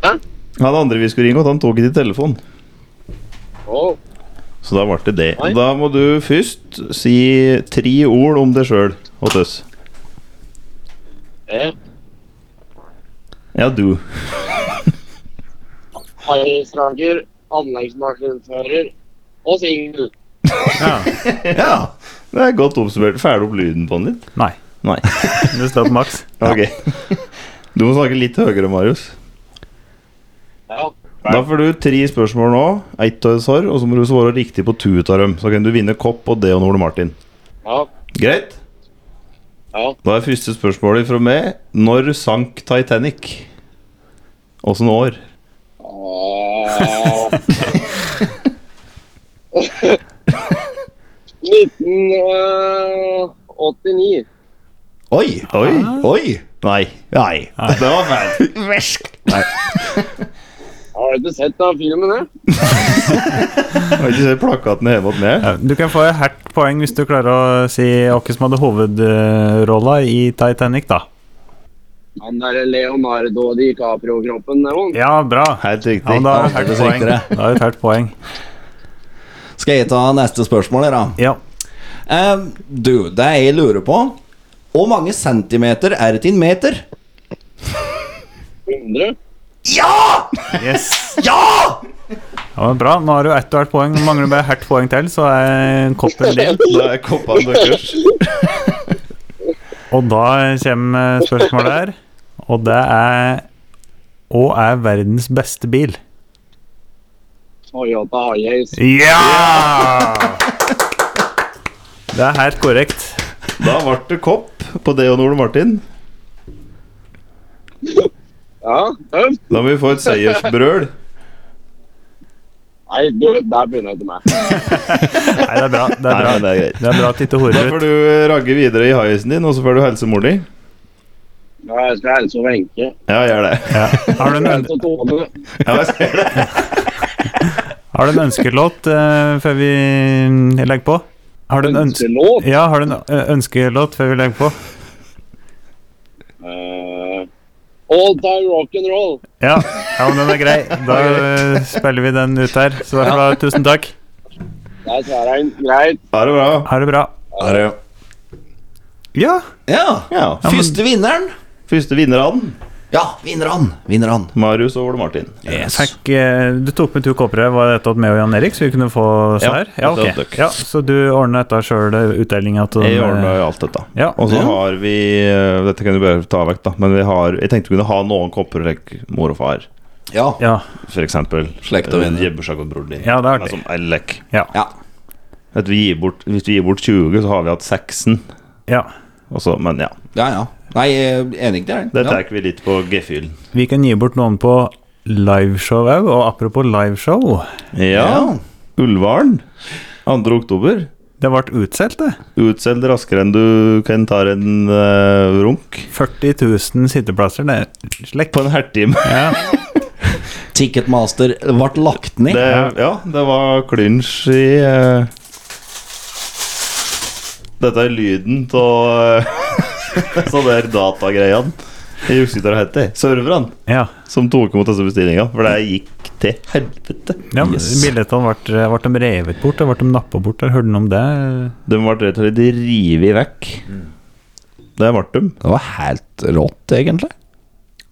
[SPEAKER 5] Hæ?
[SPEAKER 1] Han andre vi skulle ringe, og han tok ikke telefon.
[SPEAKER 5] Å,
[SPEAKER 1] Så da ble det det.
[SPEAKER 5] Oi.
[SPEAKER 1] Da må du først si tre ord om deg sjøl hos oss.
[SPEAKER 5] eh,
[SPEAKER 1] Ja, du.
[SPEAKER 5] Hangis Roger. Anleggsmaskinfører. Og singel.
[SPEAKER 2] ja.
[SPEAKER 1] Ja. Det er godt oppsummert. Ferdig opp lyden på den litt?
[SPEAKER 2] Nei.
[SPEAKER 1] Nei.
[SPEAKER 2] Det står på maks.
[SPEAKER 1] Ok. Du må snakke litt høyere, Marius.
[SPEAKER 5] Ja.
[SPEAKER 1] Da får du tre spørsmål nå. Ett av et svar, og så må du svare riktig på to av dem. Så kan du vinne kopp og det og Ole Martin.
[SPEAKER 5] Ja.
[SPEAKER 1] Greit?
[SPEAKER 5] Ja.
[SPEAKER 1] Da er første spørsmålet fra meg. Når sank Titanic? Åssen år?
[SPEAKER 5] Åh. eh, 1989.
[SPEAKER 3] Oi!
[SPEAKER 1] Oi!
[SPEAKER 2] Ah.
[SPEAKER 3] Oi!
[SPEAKER 1] Nei.
[SPEAKER 3] Nei.
[SPEAKER 1] Det var feil.
[SPEAKER 5] Har du sett da filmen, eh? det?
[SPEAKER 1] Jeg har ikke sett plakaten hjemme hos meg.
[SPEAKER 2] Ja, Du kan få et herdt poeng hvis du klarer å si hvem som hadde hovedrolla i Titanic, da.
[SPEAKER 5] Han derre Leonardo DiCaprio-kroppen, det òg.
[SPEAKER 2] Ja, bra.
[SPEAKER 1] Helt
[SPEAKER 2] Ja,
[SPEAKER 1] riktig.
[SPEAKER 2] men da er det et
[SPEAKER 3] Ja, det
[SPEAKER 2] herdt poeng.
[SPEAKER 3] sikrer.
[SPEAKER 2] Da er det et herdt poeng.
[SPEAKER 3] Skal jeg ta neste spørsmål, her, da?
[SPEAKER 2] Ja.
[SPEAKER 3] Eh, du, det jeg lurer på Hvor mange centimeter er det til en meter?
[SPEAKER 5] 100.
[SPEAKER 3] Ja!
[SPEAKER 2] Yes.
[SPEAKER 3] [laughs] Ja!
[SPEAKER 2] Ja, men bra. Nå har du ett og ett poeng. Nå Mangler du bare herdt poeng til, så er koppen din.
[SPEAKER 1] Da er koppa deres.
[SPEAKER 2] Og da kommer spørsmålet her, og det er Hva er verdens beste bil?
[SPEAKER 5] Toyota Hiace.
[SPEAKER 2] Ja! Det er helt korrekt.
[SPEAKER 1] Da ble det kopp på det og Ole Martin.
[SPEAKER 5] Ja, tøft.
[SPEAKER 1] Da må vi få et seiersbrøl.
[SPEAKER 5] Nei, du, der begynner jeg til meg.
[SPEAKER 2] Nei, det er bra. Det
[SPEAKER 1] Nei,
[SPEAKER 2] er bra,
[SPEAKER 1] men det er greit.
[SPEAKER 2] det er bra at du ikke
[SPEAKER 1] Da
[SPEAKER 2] horer
[SPEAKER 1] får
[SPEAKER 2] ut.
[SPEAKER 1] du ragge videre i haisen din, og så får du helse mor di.
[SPEAKER 5] Ja, jeg altså skal helse og Wenche.
[SPEAKER 1] Ja, gjør det.
[SPEAKER 2] Ja. Har, du en, øn-
[SPEAKER 5] Helse og Tone.
[SPEAKER 1] Ja, jeg ser det.
[SPEAKER 2] har du en ønskelåt eh, før vi legger på? Har du en øns
[SPEAKER 5] Ønskelåt.
[SPEAKER 2] ja, har du en ø- ønskelåt før vi legger på?
[SPEAKER 5] Eh, all time rock'n'roll.
[SPEAKER 2] Ja, ja men den er grei. Da eh, spiller vi den ut her. Så det er bra. Tusen takk.
[SPEAKER 5] Der svarer han. Greit.
[SPEAKER 1] Ha det bra.
[SPEAKER 2] Ha det bra. Ja.
[SPEAKER 3] Ja.
[SPEAKER 1] Ja.
[SPEAKER 3] Første vinneren.
[SPEAKER 1] Første vinnerne,
[SPEAKER 3] Ja, vinneren. Vinneren.
[SPEAKER 1] Marius og Ole Martin.
[SPEAKER 2] Fikk, eh, du tok med to kopper. Var dette at meg og Jan Erik, så vi kunne få
[SPEAKER 1] Ja,
[SPEAKER 2] svar? Ja,
[SPEAKER 1] det
[SPEAKER 2] ok.
[SPEAKER 1] var dere.
[SPEAKER 2] ja, så du ordna dette sjøl, utdelinga til
[SPEAKER 1] Jeg ordna jo alt dette.
[SPEAKER 2] eh, Ja.
[SPEAKER 1] Og så
[SPEAKER 3] Ja.
[SPEAKER 1] har vi eh, Dette kan du bare ta vekk, da. Men vi har, jeg tenkte vi kunne ha noen kopper like mor og far,
[SPEAKER 3] Ja.
[SPEAKER 2] Ja,
[SPEAKER 1] f.eks.
[SPEAKER 3] Slekt og venner.
[SPEAKER 1] Jebbersag og broren din.
[SPEAKER 2] Ja, det er
[SPEAKER 1] Men
[SPEAKER 2] artig.
[SPEAKER 1] som er lek.
[SPEAKER 3] ja.
[SPEAKER 1] At vi gir bort, hvis vi gir bort 20, så har vi hatt 16.
[SPEAKER 2] ja.
[SPEAKER 1] Og så- men ja.
[SPEAKER 3] Ja, ja. Nei, jeg er enig i det.
[SPEAKER 1] Det
[SPEAKER 3] Ja.
[SPEAKER 1] tar vi litt på gefühlen.
[SPEAKER 2] Vi kan gi bort noen på liveshow òg, og apropos liveshow
[SPEAKER 1] Ja. Ulvaren. 2. oktober.
[SPEAKER 2] Det ble utsolgt, det.
[SPEAKER 1] Utselg raskere enn du kan ta en eh, runk.
[SPEAKER 2] 40 000 sitteplasser, det er slekk.
[SPEAKER 1] På en hertime.
[SPEAKER 2] Ja.
[SPEAKER 3] Ticketmaster ble lagt ned.
[SPEAKER 1] Det, ja, det var clinch i eh, Dette er lyden av eh, [laughs] Så det er datagreiene. Jeg husker ikke hva det heter. Serverne
[SPEAKER 2] ja.
[SPEAKER 1] som tok imot disse bestillingene. For det gikk til helvete.
[SPEAKER 2] ja Billettene ble, ble de revet bort, og ble de nappa bort? Har du hørt noe om det?
[SPEAKER 1] De ble rett og slett revet vekk. Det ble de.
[SPEAKER 3] Det var helt rått, egentlig.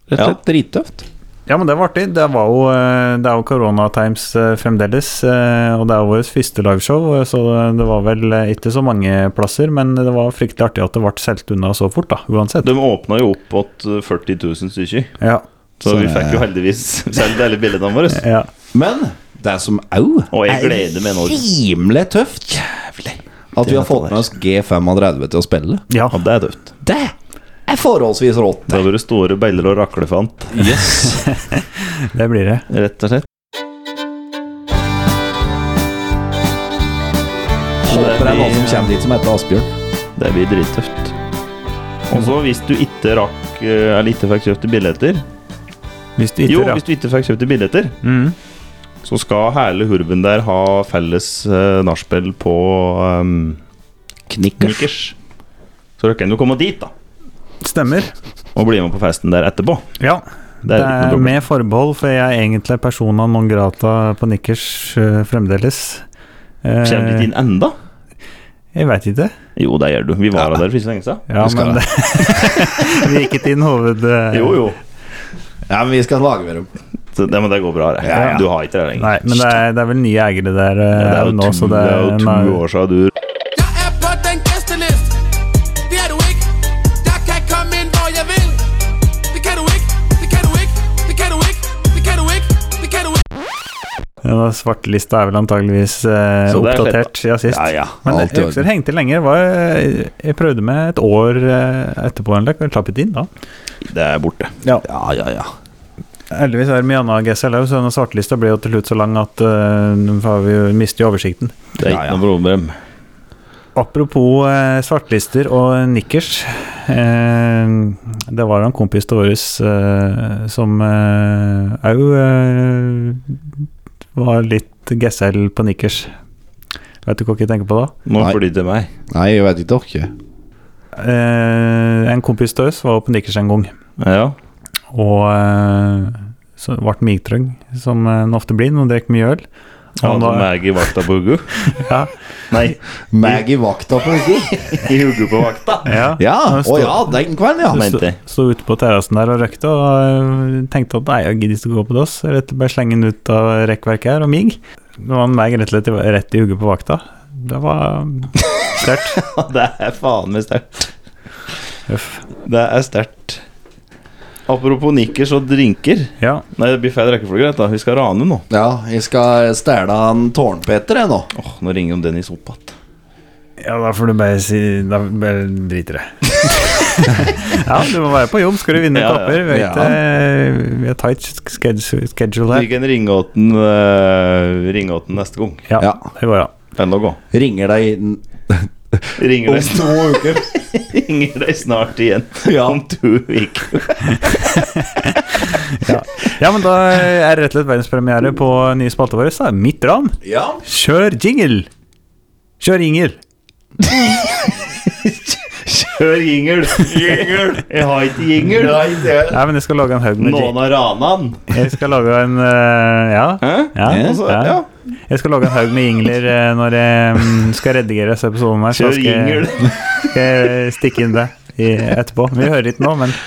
[SPEAKER 3] Rett og
[SPEAKER 1] Ja.
[SPEAKER 3] slett drittøft.
[SPEAKER 2] Ja, men det var artig. Det, var jo, eh, det er jo koronatimes eh, fremdeles, eh, og det er jo vårt første liveshow, eh, så det var vel eh, ikke så mange plasser, men det var fryktelig artig at det ble solgt unna så fort, da, uansett.
[SPEAKER 1] De åpna jo opp mot 40 eh, 000 stykker.
[SPEAKER 2] Ja.
[SPEAKER 1] Så Eh, vi fikk jo heldigvis [laughs] solgt alle bildene våre.
[SPEAKER 2] Ja.
[SPEAKER 3] Men det som au
[SPEAKER 1] Og jeg gleder meg nå.
[SPEAKER 3] rimelig tøft At vi har fått med oss G35 til å spille.
[SPEAKER 2] ja.
[SPEAKER 1] Ja, det er tøft.
[SPEAKER 3] Det er forholdsvis rått.
[SPEAKER 1] Det har vært store beller og raklefant,
[SPEAKER 2] Det blir det.
[SPEAKER 1] rett og slett.
[SPEAKER 3] Håper det er noen som kommer dit som heter Asbjørn.
[SPEAKER 1] Det blir drittøft. Og så, hvis du ikke rakk eh, Eller ikke fikk kjøpt billetter
[SPEAKER 2] Hvis du
[SPEAKER 1] Jo,
[SPEAKER 2] ikke
[SPEAKER 1] hvis du ikke fikk kjøpt billetter,
[SPEAKER 2] Mm.
[SPEAKER 1] så skal hele hurven der ha felles uh, nachspiel på ehm,
[SPEAKER 3] Knickers.
[SPEAKER 1] Knickers. Så dere kan jo komme dit, da.
[SPEAKER 2] Stemmer.
[SPEAKER 1] Og bli med på festen der etterpå.
[SPEAKER 2] Ja.
[SPEAKER 1] Det er,
[SPEAKER 2] Det
[SPEAKER 1] ikke noe
[SPEAKER 2] er
[SPEAKER 1] problem.
[SPEAKER 2] med forbehold, for jeg er egentlig persona non grata på Nikkers eh, fremdeles. Eh,
[SPEAKER 1] Kjenner du ikke inn enda?
[SPEAKER 2] Jeg veit ikke.
[SPEAKER 1] Jo, det gjør du. Vi var der for ikke så lenge siden.
[SPEAKER 2] Ja,
[SPEAKER 3] Du skal
[SPEAKER 2] men det. [laughs] vi gikk ikke inn hoved... eh,
[SPEAKER 1] Jo, jo.
[SPEAKER 3] Ja, men vi skal lage med dem.
[SPEAKER 1] Så, det, men det går bra, det.
[SPEAKER 2] Ja, ja.
[SPEAKER 1] Du har ikke det lenger.
[SPEAKER 2] Nei, men det er, det er vel nye eiere der eh,
[SPEAKER 1] Det er jo
[SPEAKER 2] nå,
[SPEAKER 1] to,
[SPEAKER 2] så
[SPEAKER 1] det er jo
[SPEAKER 2] en
[SPEAKER 1] to
[SPEAKER 2] av-
[SPEAKER 1] år siden du
[SPEAKER 6] Jeg er på den gæstelist Det er du ikke Jeg kan komme inn hvor jeg vil Det kan du ikke Det kan du ikke Det kan du ikke Det kan du ikke Det kan du ikke
[SPEAKER 2] en av Svartelista er vel antageligvis eh,
[SPEAKER 1] Så det er fett,
[SPEAKER 2] oppdatert siden sist.
[SPEAKER 1] Ja, ja.
[SPEAKER 2] Men
[SPEAKER 3] Alt i
[SPEAKER 2] jeg husker
[SPEAKER 3] orden.
[SPEAKER 2] det hengte lenger. Var, jeg prøvde med et år eh, etterpå, en løk, og jeg slapp ikke inn da.
[SPEAKER 1] Det er borte.
[SPEAKER 3] Ja, ja, ja.
[SPEAKER 2] Heldigvis er det mye annet GSL òg, så denne svartelista ble jo til slutt så lang at eh, nå har vi jo mister jo oversikten.
[SPEAKER 1] Det er ikke
[SPEAKER 3] Ja, ja.
[SPEAKER 1] noe problem.
[SPEAKER 2] Apropos eh, svartlister og nikkers. Eh, det var en kompis av oss eh, som òg eh, var litt GSL på nikkers. Vet du hva jeg tenker på da?
[SPEAKER 1] Nå
[SPEAKER 3] Nei.
[SPEAKER 1] flyr det til meg.
[SPEAKER 3] Nei, jeg vet ikke dere.
[SPEAKER 2] Eh, en kompis av oss var på nikkers en gang.
[SPEAKER 1] Ja.
[SPEAKER 2] Og eh, så ble han miktrøng, som en ofte blir når han drikker mye øl.
[SPEAKER 1] Han
[SPEAKER 2] Han
[SPEAKER 1] som
[SPEAKER 2] var,
[SPEAKER 1] Maggie vakta på Hugo?
[SPEAKER 2] ja,
[SPEAKER 1] Nei,
[SPEAKER 3] Maggie vakta på Hugo.
[SPEAKER 1] [laughs] i Hugo på vakta. [laughs]
[SPEAKER 2] ja.
[SPEAKER 3] Ja,
[SPEAKER 2] Han
[SPEAKER 3] å
[SPEAKER 2] sto-
[SPEAKER 3] ja, den kvelden, ja.
[SPEAKER 1] mente
[SPEAKER 2] Stod
[SPEAKER 1] jeg.
[SPEAKER 2] Sto ute på terrassen der og røykte, og eh, tenkte at nei, jeg gidder ikke å gå på dass. Rett og slett bare slenge den ut av rekkverket her, og mig. Det var meg rett og slett i- rett i hugget på vakta. Det var eh, sterkt.
[SPEAKER 1] Det er faen meg sterkt.
[SPEAKER 2] Uff.
[SPEAKER 1] Det er sterkt. Apropos nikkers og drinker.
[SPEAKER 2] Ja,
[SPEAKER 1] Nei, det blir feil rekkefølge, greit da. Vi skal rane nå.
[SPEAKER 3] Ja, jeg skal stjele han Tårnpeter, jeg nå.
[SPEAKER 1] Åh, nå ringer jo Dennis opp igjen.
[SPEAKER 2] ja da får du bare si Da bare driter det. [laughs] ja, du må være på jobb, skal du vinne
[SPEAKER 1] Ja, ja.
[SPEAKER 2] kapper. Vi,
[SPEAKER 3] Ja.
[SPEAKER 2] vet, eh, vi har tight schedule schedule
[SPEAKER 1] Vi
[SPEAKER 2] her.
[SPEAKER 1] kan ringe åten uh, Ringe åten neste gang.
[SPEAKER 2] Ja,
[SPEAKER 3] Ja.
[SPEAKER 2] det går an.
[SPEAKER 1] Eller gå.
[SPEAKER 3] Ringer deg inn
[SPEAKER 1] Ringer
[SPEAKER 3] om
[SPEAKER 1] deg,
[SPEAKER 3] to uker.
[SPEAKER 1] [laughs] ringer deg snart igjen.
[SPEAKER 3] Ja.
[SPEAKER 1] Om to uker.
[SPEAKER 2] Ja. ja, men da eh, er det rett og slett verdenspremiere på nye spalte vår. Så er det mitt ran.
[SPEAKER 3] [laughs] Ja.
[SPEAKER 2] Kjør jingle! Kjør jingle!
[SPEAKER 1] Kjør jingel! [laughs] Jingel! Jeg har ikke jingel.
[SPEAKER 3] Nei, det
[SPEAKER 2] Nei, men jeg skal lage en haug med
[SPEAKER 1] Noen
[SPEAKER 2] jingler.
[SPEAKER 1] har rana han.
[SPEAKER 2] Jeg skal lage en eh, ja, ja,
[SPEAKER 1] Altså,
[SPEAKER 2] ja.
[SPEAKER 1] ja.
[SPEAKER 2] Jeg skal lage en haug med jingler eh, når jeg mm, skal redigere disse episodene. her, så
[SPEAKER 1] Kjør
[SPEAKER 2] skal jeg-
[SPEAKER 1] jingel.
[SPEAKER 2] Skal jeg eh, stikke inn det i, etterpå. Vi hører ikke nå, men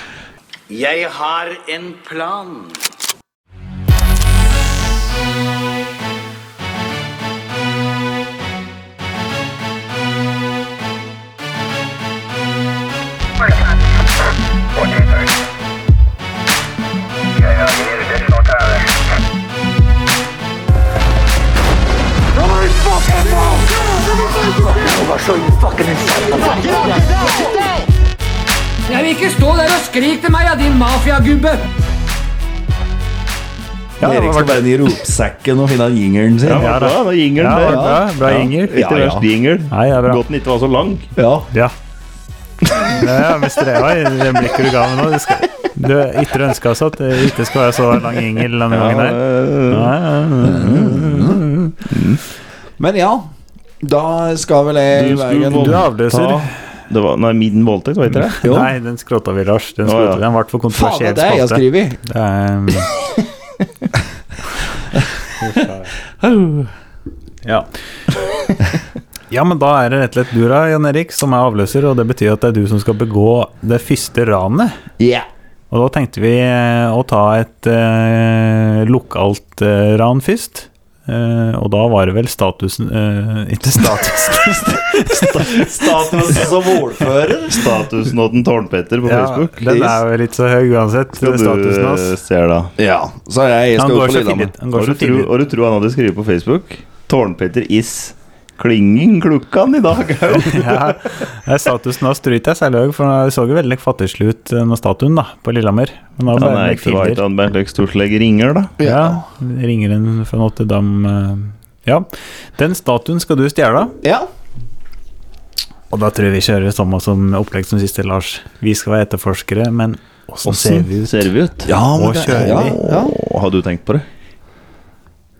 [SPEAKER 7] Jeg har en plan.
[SPEAKER 8] Jeg vil ikke stå der og skrik til meg, ja, din mafiagubbe!
[SPEAKER 2] ja, det
[SPEAKER 3] Erik
[SPEAKER 2] var
[SPEAKER 3] skal bare inn i ropsekken og finne han jingeren sin.
[SPEAKER 1] Ja,
[SPEAKER 2] Ja,
[SPEAKER 1] bra,
[SPEAKER 2] da.
[SPEAKER 1] da. Jingel,
[SPEAKER 2] ja, det
[SPEAKER 1] det.
[SPEAKER 2] var bra, bra jingle.
[SPEAKER 1] Ikke
[SPEAKER 3] Ja, ja.
[SPEAKER 1] verst jingel.
[SPEAKER 2] Nei, det er bra.
[SPEAKER 1] Godt den ikke var så lang.
[SPEAKER 3] Ja.
[SPEAKER 2] Ja. Ja, vi streva i det blikket du ga meg nå. Du, skal, du ikke ønska oss at det ikke skal være så lang jingel denne gangen her.
[SPEAKER 1] Ja, eh,
[SPEAKER 3] Men ja, da skal vel jeg
[SPEAKER 1] Du skulle voldta-
[SPEAKER 2] Du avløser.
[SPEAKER 1] Det var, nei, min voldtekt, var
[SPEAKER 2] [laughs]
[SPEAKER 1] ikke det?
[SPEAKER 3] Jo.
[SPEAKER 2] Nei, den skrotta vi, Lars. Den,
[SPEAKER 1] Å,
[SPEAKER 2] skrotet,
[SPEAKER 1] ja.
[SPEAKER 2] vi. den ble for
[SPEAKER 3] Faen, det
[SPEAKER 2] kontroversiell
[SPEAKER 3] er det jeg har
[SPEAKER 2] spalte.
[SPEAKER 3] skrevet.
[SPEAKER 2] Det er, mm, um, ja. [laughs] ja, men da er det rett og slett du da, Jan Erik, som er avløser, og det betyr at det er du som skal begå det første ranet.
[SPEAKER 3] Ja.
[SPEAKER 2] Og da tenkte vi eh, å ta et eh, lokalt eh, ran først. Eh, Eh, og da var det vel statusen eh, Ikke statusen
[SPEAKER 3] Status som ordfører?
[SPEAKER 1] Statusen og den Tårnpetter [laughs] på
[SPEAKER 2] ja,
[SPEAKER 1] Facebook.
[SPEAKER 2] Den er jo litt så høy uansett,
[SPEAKER 1] Skal
[SPEAKER 2] statusen
[SPEAKER 1] du eh,
[SPEAKER 2] hans.
[SPEAKER 1] ser da
[SPEAKER 3] Ja. Så jeg, jeg
[SPEAKER 2] Han
[SPEAKER 3] skal jo
[SPEAKER 2] går
[SPEAKER 3] på
[SPEAKER 2] så
[SPEAKER 3] Lillehammer.
[SPEAKER 2] tidlig. Han
[SPEAKER 1] Og
[SPEAKER 2] går
[SPEAKER 1] du
[SPEAKER 2] så
[SPEAKER 1] tror,
[SPEAKER 2] tidlig.
[SPEAKER 1] og du tror han hadde skrevet på Facebook? Tårnpetter is klingen klukkan i dag au.
[SPEAKER 2] [laughs] [laughs] Ja, eh, statusen hans tror ikke jeg særlig høy, for han så jo veldig fattigslig ut, eh, den statuen da, på Lillehammer. Men da
[SPEAKER 1] Han
[SPEAKER 2] ble
[SPEAKER 1] er
[SPEAKER 2] det
[SPEAKER 1] ikke veit
[SPEAKER 2] filter.
[SPEAKER 1] han Bernt Løk Storslegg ringer, da.
[SPEAKER 2] Ja, ringer en fra Nottedam eh, Ja. Den statuen skal du stjele.
[SPEAKER 3] Ja.
[SPEAKER 2] Og da tror jeg vi kjører samme som opplegg som siste, Lars. Vi skal være etterforskere, men åssen ser vi ut?
[SPEAKER 1] Ser vi ut?
[SPEAKER 3] ja
[SPEAKER 2] Og kjører
[SPEAKER 3] ja,
[SPEAKER 2] vi.
[SPEAKER 3] ja.
[SPEAKER 1] Å, Har du tenkt på det?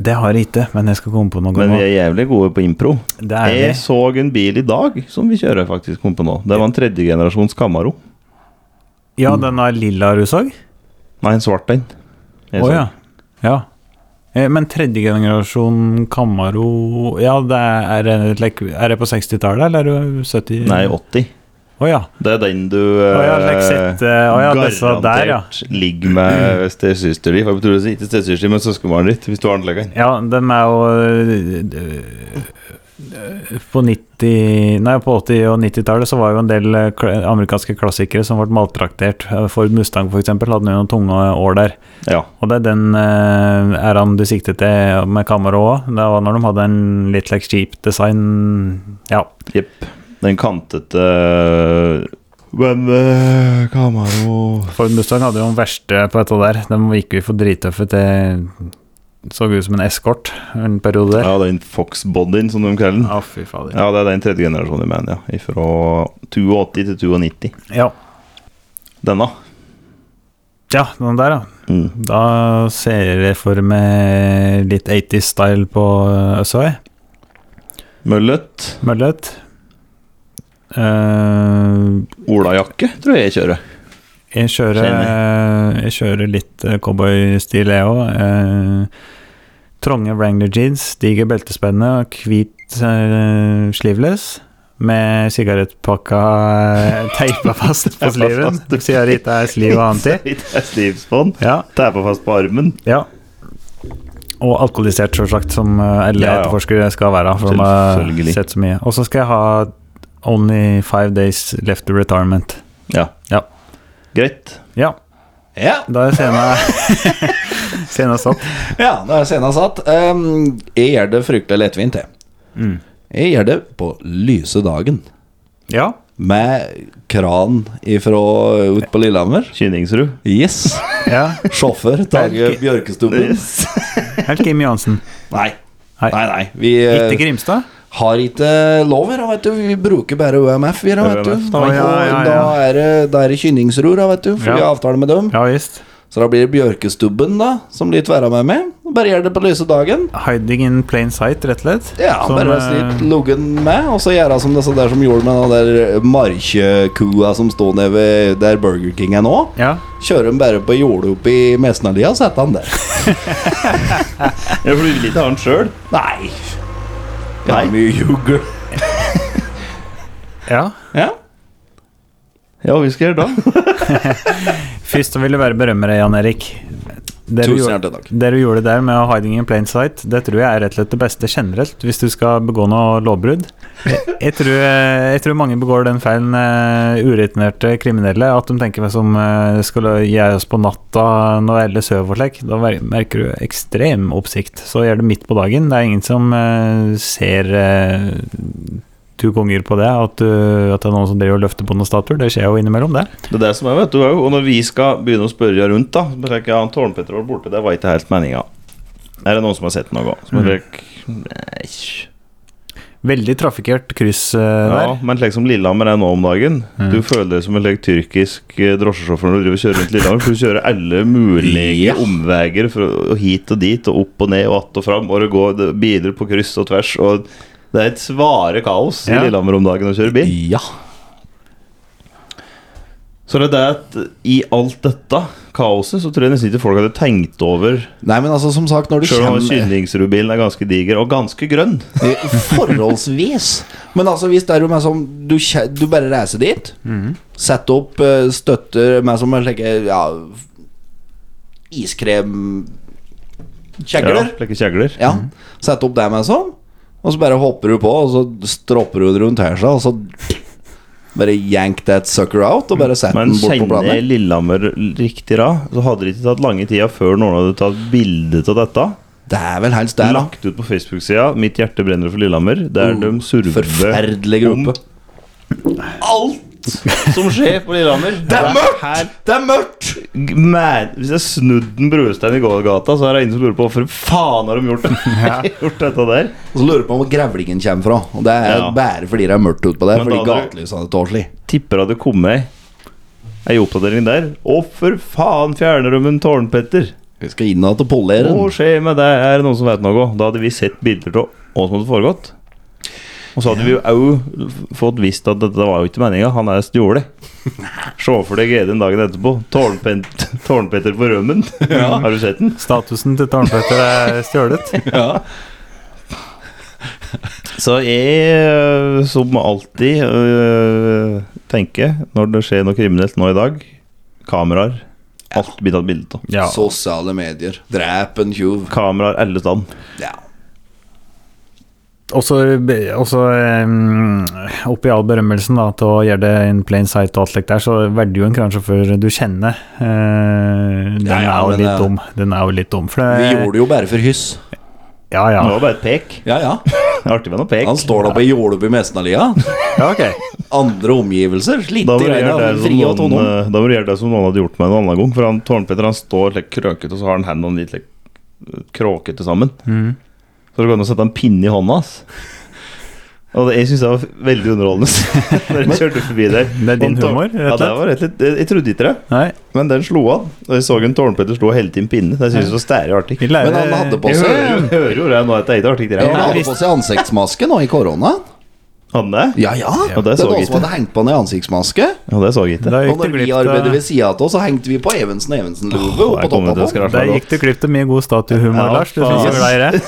[SPEAKER 2] Det har jeg ikke, men jeg skal komme på noe.
[SPEAKER 1] Men
[SPEAKER 2] nå.
[SPEAKER 1] vi er jævlig gode på impro.
[SPEAKER 2] Det er
[SPEAKER 1] Jeg
[SPEAKER 2] vi.
[SPEAKER 1] så en bil i dag som vi kjører faktisk kom på nå. Det var en tredjegenerasjons Camaro.
[SPEAKER 2] Ja, den er lilla rusog?
[SPEAKER 1] Nei, en svart en. Jeg
[SPEAKER 2] Å
[SPEAKER 1] så.
[SPEAKER 2] ja. ja. Eh, Men tredje generasjon Camaro Ja, det er, er, like, er det på 60-tallet, eller er det 70?
[SPEAKER 1] Nei, 80.
[SPEAKER 2] Å ja.
[SPEAKER 1] Det er den du
[SPEAKER 2] Å ja,
[SPEAKER 1] eh,
[SPEAKER 2] Lexette, eh, å ja, det sa der, ja.
[SPEAKER 1] ligger
[SPEAKER 2] [clears throat]
[SPEAKER 1] med stesøster di. For jeg betyr ikke stesøster di, men søskenbarnet ditt, hvis du har anleggen.
[SPEAKER 2] Ja, de er jo øh, øh, På 90 Nei, på 80- og 90-tallet så var jo en del øh, kla- amerikanske klassikere som ble maltraktert. Eh, Ford Mustang, for eksempel, hadde jo noen tunge år der.
[SPEAKER 1] Ja.
[SPEAKER 2] Og det er den eh, æraen du sikter til med kamera òg. Det var når de hadde en litt like cheap design Ja.
[SPEAKER 1] Jepp. Den kantete Men eh, Camaro
[SPEAKER 2] Ford Mustang hadde jo den verste på dette der. De gikk jo for drittøffe til Så ut som en eskort en periode der.
[SPEAKER 1] Ja, den Fox-bodyen, som de kaller den.
[SPEAKER 2] Ja, fy fader.
[SPEAKER 1] Ja, det er den tredje generasjonen i Mania. Fra 82 til 92.
[SPEAKER 2] Ja.
[SPEAKER 1] Denne.
[SPEAKER 2] ja, den der, ja.
[SPEAKER 1] Mm.
[SPEAKER 2] Da ser jeg for meg litt 80s-style på eh, Øsøy.
[SPEAKER 1] Møllet.
[SPEAKER 2] Møllet. Eh,
[SPEAKER 1] Olajakke tror jeg jeg [laughs] kjører.
[SPEAKER 2] jeg, kjører, jeg kjører litt eh, cowboystil, jeg òg. trange Wrangler jeans, diger beltespenne, hvit eh, sleeveless. Med sigarettpakka [laughs] eh, teipa fast på
[SPEAKER 1] Teipa
[SPEAKER 2] sliven,
[SPEAKER 1] fast, du-
[SPEAKER 2] siden det ikke er sliv og
[SPEAKER 1] [laughs]
[SPEAKER 2] annet i.
[SPEAKER 1] Litt Slivsbånd.
[SPEAKER 2] Ja,
[SPEAKER 1] Teipa fast på armen.
[SPEAKER 2] ja. Og alkoholisert, selvsagt, som eh, alle
[SPEAKER 1] Ja, ja.
[SPEAKER 2] etterforskere skal være. For de har
[SPEAKER 1] Selvfølgelig.
[SPEAKER 2] sett så mye. Og så skal jeg ha Only five days left to retirement.
[SPEAKER 1] Ja.
[SPEAKER 2] Ja.
[SPEAKER 1] Greit.
[SPEAKER 2] Ja,
[SPEAKER 3] ja.
[SPEAKER 2] da er scena [laughs] Scena satt.
[SPEAKER 3] Ja, da er scenen satt. Ehm, jeg gjør det fryktelig lettvint, jeg.
[SPEAKER 2] Mm.
[SPEAKER 3] Jeg gjør det på lyse dagen.
[SPEAKER 2] Ja.
[SPEAKER 3] Med kran ifra ut på Lillehammer.
[SPEAKER 1] Kynningsrud.
[SPEAKER 3] Yes.
[SPEAKER 2] ja.
[SPEAKER 3] Sjåfør Tage Bjørkestuben.
[SPEAKER 1] [laughs]
[SPEAKER 2] Helt Kim Johansen.
[SPEAKER 3] Nei.
[SPEAKER 2] Nei.
[SPEAKER 3] Nei, nei. Vi eh,
[SPEAKER 2] Ikke Grimstad?
[SPEAKER 3] har ikke lov her, da, vet du. Vi bruker bare UMF, vi da, vet du.
[SPEAKER 1] UMF,
[SPEAKER 2] da.
[SPEAKER 3] Og
[SPEAKER 2] Ja, ja, ja.
[SPEAKER 3] da er det, da er det kynningsror, da, vet du.
[SPEAKER 2] Ja.
[SPEAKER 3] For vi har avtale med dem.
[SPEAKER 2] Ja visst.
[SPEAKER 3] Så da blir det Bjørkestubben, da, som blir tverra med meg. Bare gjør det på lyse dagen.
[SPEAKER 2] Hiding in plain sight, rett og slett.
[SPEAKER 3] Ja,
[SPEAKER 2] Som,
[SPEAKER 3] bare
[SPEAKER 2] eh,
[SPEAKER 3] slitt luggen med, og så gjøre som disse der som gjorde med den der markkua som står nede ved der Burger King er nå.
[SPEAKER 2] eh, ja.
[SPEAKER 3] Kjøre dem bare på jordet opp i Mesnalia og sette han der.
[SPEAKER 2] [laughs]
[SPEAKER 1] Jeg flyr litt annet sjøl.
[SPEAKER 3] Nei. Ja, mye
[SPEAKER 2] [laughs]
[SPEAKER 3] jugger.
[SPEAKER 2] ja.
[SPEAKER 3] Ja.
[SPEAKER 1] Ja, vi skal gjøre det.
[SPEAKER 2] Først så vil jeg bare berømme deg, Jan Erik. Det du
[SPEAKER 3] Tusen
[SPEAKER 2] gjorde-
[SPEAKER 3] hjertelig takk.
[SPEAKER 2] Det du gjorde der med hiding in plain sight, det tror jeg er rett og slett det beste generelt hvis du skal begå noe lovbrudd. Jeg, jeg, tror, eh, jeg tror mange begår den feilen, uh, uretinerte kriminelle, at de tenker meg som uh, skulle gi oss på natta når alle sover og slik. Da ver- merker du ekstrem oppsikt. Så gjør det midt på dagen. Det er ingen som eh, ser eh, to konger på det, at, du, at det er noen som driver og løfter på noen statuer. Det skjer jo innimellom, det.
[SPEAKER 1] [laughs] Det er det som er, vet du. er jo- Og når vi skal begynne å spørre rundt, da så tenker jeg, han Tårnpetter var borte, det var ikke helt meninga. Er det noen som har sett noe? Som er Nei.
[SPEAKER 2] Veldig trafikkert kryss eh, der.
[SPEAKER 1] Ja, men slik som Lillehammer er nå om dagen Du føler deg som en slik tyrkisk eh, drosjesjåfør når du driver og kjører rundt Lillehammer, for du kjører alle mulige
[SPEAKER 3] Ja.
[SPEAKER 1] omveier fra, og hit og dit, og opp og ned og att og fram, og det går det- biler på kryss og tvers, og det er et svare kaos
[SPEAKER 2] Ja.
[SPEAKER 1] i Lillehammer om dagen å kjøre bil.
[SPEAKER 3] Ja.
[SPEAKER 1] Så det er det at i alt dette kaoset, så tror jeg nesten ikke folk hadde tenkt over
[SPEAKER 3] Nei, men altså, som sagt, når du
[SPEAKER 1] Sjøl om
[SPEAKER 3] kommer
[SPEAKER 1] kynningsrudbilen er ganske diger, og ganske grønn.
[SPEAKER 3] Eh, Forholdsvis. Men altså, hvis det er jo meg som Du, kje- du bare reiser dit,
[SPEAKER 1] Mhm.
[SPEAKER 3] setter opp eh, støtter meg som en slik ja, iskrem Kjegler.
[SPEAKER 1] Ja, Mhm. Slike kjegler.
[SPEAKER 3] Ja, sette opp dem en sånn Og så bare hopper du på Og så stropper du den rundt her seg Og så bare yank that sucker out Og bare sett
[SPEAKER 1] Men
[SPEAKER 3] den bort på
[SPEAKER 1] kjenner jeg
[SPEAKER 3] planen
[SPEAKER 1] Lillehammer riktig da, så hadde det ikke tatt lange tida før noen hadde tatt bilde av dette.
[SPEAKER 3] Det er vel helst der da
[SPEAKER 1] Lagt ut på Facebook-sida 'Mitt hjerte brenner for Lillehammer', der de surver
[SPEAKER 3] Forferdelig gruppe Alt
[SPEAKER 1] som skjer på Lillehammer.
[SPEAKER 3] [laughs] Det er mørkt Det er mørkt
[SPEAKER 1] G- Man, hvis jeg snudde en brustein i gågata, så er det ingen som lurer på hvorfor faen har de
[SPEAKER 3] [laughs]
[SPEAKER 1] gjort, [laughs] gjort dette der.
[SPEAKER 3] Og så lurer jeg på om hvor grevlingen kommer fra Og det er
[SPEAKER 1] Ja.
[SPEAKER 3] bare fordi det er mørkt ut på det
[SPEAKER 1] Men
[SPEAKER 3] Fordi
[SPEAKER 1] da hadde-
[SPEAKER 3] gatelysene er tårslig
[SPEAKER 1] Tipper hadde kommet ei oppdatering der. Å, for faen fjerner de en tårnpetter?
[SPEAKER 3] Vi skal inn og polere
[SPEAKER 1] Hva
[SPEAKER 3] den
[SPEAKER 1] skjer med det? Er det noen som vet noe? Da hadde vi sett bilder av hva som hadde foregått. Og så hadde vi jo òg fått visst at dette var jo ikke meninga. Han er [laughs] stjålet. Se for deg Edin dagen etterpå. Tårnpen- Tårnpetter på rømmen. [laughs] Har du sett den?
[SPEAKER 2] Statusen til Tarnføtter er stjålet.
[SPEAKER 3] [laughs]
[SPEAKER 1] Så jeg, øh, som alltid, øh, tenker når det skjer noe kriminelt nå i dag Kameraer. Alt blir tatt bilde av.
[SPEAKER 2] Ja.
[SPEAKER 3] Sosiale medier Drep en tjuv
[SPEAKER 1] Kameraer alle steder.
[SPEAKER 3] Ja
[SPEAKER 2] Også, eh, også um, oppi all berømmelsen da, til å gjøre det in plain sight og alt slikt der, så verder jo en kransjåfør du kjenner. eh, den
[SPEAKER 3] Ja, ja,
[SPEAKER 2] er jo
[SPEAKER 3] men
[SPEAKER 2] litt
[SPEAKER 3] det-
[SPEAKER 2] dum. Den er jo litt dum. For
[SPEAKER 3] Vi
[SPEAKER 1] Eh.
[SPEAKER 2] det,
[SPEAKER 3] gjorde det jo bare for hyss
[SPEAKER 2] Ja, ja.
[SPEAKER 1] Det var bare et pek.
[SPEAKER 3] Ja, ja
[SPEAKER 1] Artig med noe pek.
[SPEAKER 3] Han står da på jordet i mesten av lia.
[SPEAKER 2] ja ok.
[SPEAKER 3] Andre omgivelser. Litt
[SPEAKER 1] Da må, du
[SPEAKER 3] greier
[SPEAKER 1] gjøre
[SPEAKER 3] av
[SPEAKER 1] det som
[SPEAKER 3] fri og
[SPEAKER 1] noen,
[SPEAKER 3] tonom.
[SPEAKER 1] eh, da må du gjøre det som noen hadde gjort med en annen gang. For han Tårnpetter han står litt krøkete, og så har han hendene litt like, kråkete sammen.
[SPEAKER 2] Mm.
[SPEAKER 1] Så det går an å sette en pinne i hånda hans. Og det, jeg syns det var veldig underholdende [laughs] når jeg kjørte forbi der.
[SPEAKER 2] [laughs] Det er din
[SPEAKER 1] Og tårn-
[SPEAKER 2] humor, rett og
[SPEAKER 1] Ja, det
[SPEAKER 2] slett.
[SPEAKER 1] var rett litt, jeg, jeg trodde ikke det,
[SPEAKER 2] Nei,
[SPEAKER 1] men den slo an. Og jeg så en Tårnpetter slo hele tiden pinne. Det syns jeg var stære artig.
[SPEAKER 2] vi lærer
[SPEAKER 3] Men han hadde på
[SPEAKER 1] Jeg
[SPEAKER 3] seg
[SPEAKER 1] hører, jo- hører jo det nå at det er ikke artig.
[SPEAKER 3] han
[SPEAKER 1] greier.
[SPEAKER 3] hadde på seg ansiktsmaske nå i korona.
[SPEAKER 1] Hadde han det?
[SPEAKER 3] Ja, ja.
[SPEAKER 1] Ja, det
[SPEAKER 3] det
[SPEAKER 1] så
[SPEAKER 3] var
[SPEAKER 1] jeg
[SPEAKER 3] noen som
[SPEAKER 1] ikke.
[SPEAKER 3] hadde hengt på en ansiktsmaske.
[SPEAKER 1] Ja, det så jeg ikke.
[SPEAKER 2] Da
[SPEAKER 3] Og
[SPEAKER 2] gikk du
[SPEAKER 3] når vi
[SPEAKER 2] glipp
[SPEAKER 3] arbeidet
[SPEAKER 2] av
[SPEAKER 3] ved sida av oss, så hengte vi på Evensen Evensen-lue
[SPEAKER 1] eh. Åh,
[SPEAKER 3] oppå
[SPEAKER 1] jeg kommer til å
[SPEAKER 3] toppa på.
[SPEAKER 1] skrasje
[SPEAKER 2] Da
[SPEAKER 1] nå.
[SPEAKER 2] gikk du glipp av mye god statuehumor,
[SPEAKER 1] Ja,
[SPEAKER 2] Lars. Du synes jeg
[SPEAKER 1] faen.
[SPEAKER 2] var glad i det.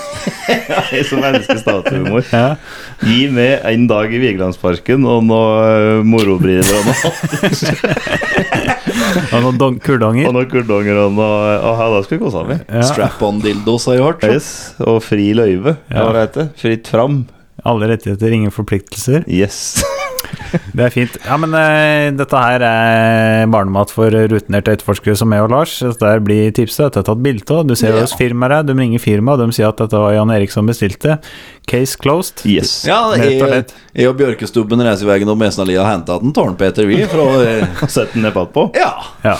[SPEAKER 1] [laughs]
[SPEAKER 3] [laughs]
[SPEAKER 1] Jeg som elsker statuehumor.
[SPEAKER 2] Ja.
[SPEAKER 1] Gi meg en dag i Vigelandsparken og noe eh, morobriller og noe, [laughs]
[SPEAKER 2] Og noen don-
[SPEAKER 1] og
[SPEAKER 2] kuldonger.
[SPEAKER 1] noe kurdonger og noe og her, da skal vi kose oss.
[SPEAKER 2] Ja,
[SPEAKER 3] Strap-on-dildos har jeg hørt.
[SPEAKER 1] Yes, og fri løyve, ja. hva det heter. Fritt fram.
[SPEAKER 2] alle rettigheter, ingen forpliktelser.
[SPEAKER 1] Yes. [laughs]
[SPEAKER 2] Det er fint. Ja, men eh, dette her er barnemat for rutinerte etterforskere som meg og Lars. Dette her blir tipset. Dette er tatt bilde av. Du ser
[SPEAKER 3] Ja.
[SPEAKER 2] hos firmaet her. De ringer firmaet, og de sier at dette var Jan Erik som bestilte. Case closed.
[SPEAKER 1] yes.
[SPEAKER 3] Ja, jeg,
[SPEAKER 2] Rett og slett.
[SPEAKER 3] jeg og Bjørkestubben reiser i veien opp Mesen av lia og henta den E Tårnpeter, vi. Fra, [laughs] eh,
[SPEAKER 1] Sett den ned på.
[SPEAKER 3] ja.
[SPEAKER 2] Ja.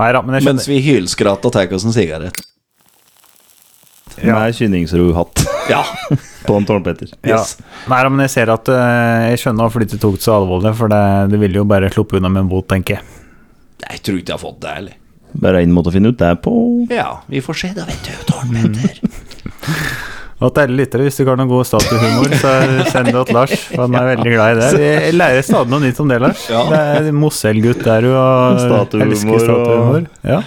[SPEAKER 2] Nei da, men jeg
[SPEAKER 3] Mens
[SPEAKER 2] skjønner.
[SPEAKER 3] vi hylskratta og tar oss en sigarett.
[SPEAKER 2] Ja.
[SPEAKER 1] Med kynningsrohatt
[SPEAKER 3] Ja.
[SPEAKER 1] på en Tårnpetter.
[SPEAKER 2] Ja.
[SPEAKER 3] Yes.
[SPEAKER 2] Nei da, men jeg ser at eh, Jeg skjønner hvorfor de ikke tok det så alvorlig, for det, det ville jo bare sluppet unna med en bot, tenker jeg.
[SPEAKER 3] [laughs] Jeg tror ikke jeg har fått det, heller.
[SPEAKER 1] Bare én måte å finne ut det på.
[SPEAKER 3] Ja, vi får se, da, vet du. Tårnpeter.
[SPEAKER 2] Og til alle lyttere, hvis du ikke har noen god statuehumor, så send det til Lars. for Han er veldig glad i det. Jeg lærer stadig noe nytt om det, Lars.
[SPEAKER 3] Ja.
[SPEAKER 2] Det er Mosell-gutt der du og
[SPEAKER 1] Statuehumor
[SPEAKER 2] elsker statuehumor.
[SPEAKER 1] og-
[SPEAKER 2] Ja.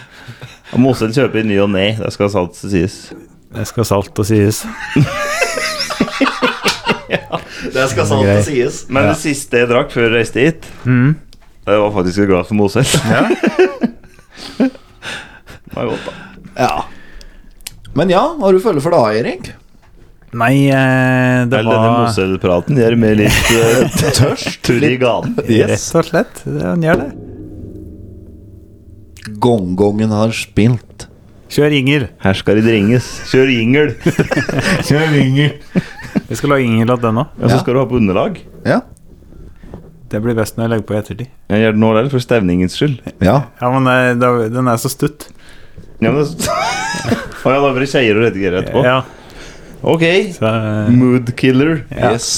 [SPEAKER 1] Og Mosel kjøper i ny og ne. Det skal sant sies.
[SPEAKER 2] Det skal salt og sies.
[SPEAKER 3] [laughs] Det skal sant
[SPEAKER 2] grei.
[SPEAKER 3] det sies.
[SPEAKER 1] Men det siste jeg drakk før jeg reiste hit,
[SPEAKER 2] Mm.
[SPEAKER 1] det var faktisk et glass med Mosel. [laughs] det var godt, da.
[SPEAKER 3] Ja. Men ja, har du følge for det, Erik?
[SPEAKER 2] Nei, eh, det
[SPEAKER 1] Eller denne
[SPEAKER 2] var
[SPEAKER 1] Mosel-praten gjør meg litt eh,
[SPEAKER 3] [laughs] Tørst?
[SPEAKER 1] turr i ganen.
[SPEAKER 2] Rett og slett. Han gjør det.
[SPEAKER 3] Gongongen har spilt.
[SPEAKER 2] Kjør Inger.
[SPEAKER 1] Her skal det ringes. Kjør jingel.
[SPEAKER 2] [laughs]
[SPEAKER 1] Kjør jingel.
[SPEAKER 2] Vi skal lage Inger til den òg.
[SPEAKER 1] Og så skal du ha på underlag.
[SPEAKER 3] Ja.
[SPEAKER 2] Det blir best når jeg legger på i ettertid.
[SPEAKER 1] Jeg gjør det nå eller for stevningens skyld.
[SPEAKER 3] ja.
[SPEAKER 2] Ja, men eh, da- den er så stutt.
[SPEAKER 1] Ja, men [laughs] det... Å ja, da blir det skeier å redigere etterpå.
[SPEAKER 2] Ja,
[SPEAKER 1] Ok.
[SPEAKER 2] så, eh,
[SPEAKER 1] Mood killer.
[SPEAKER 2] Ja.
[SPEAKER 3] Yes.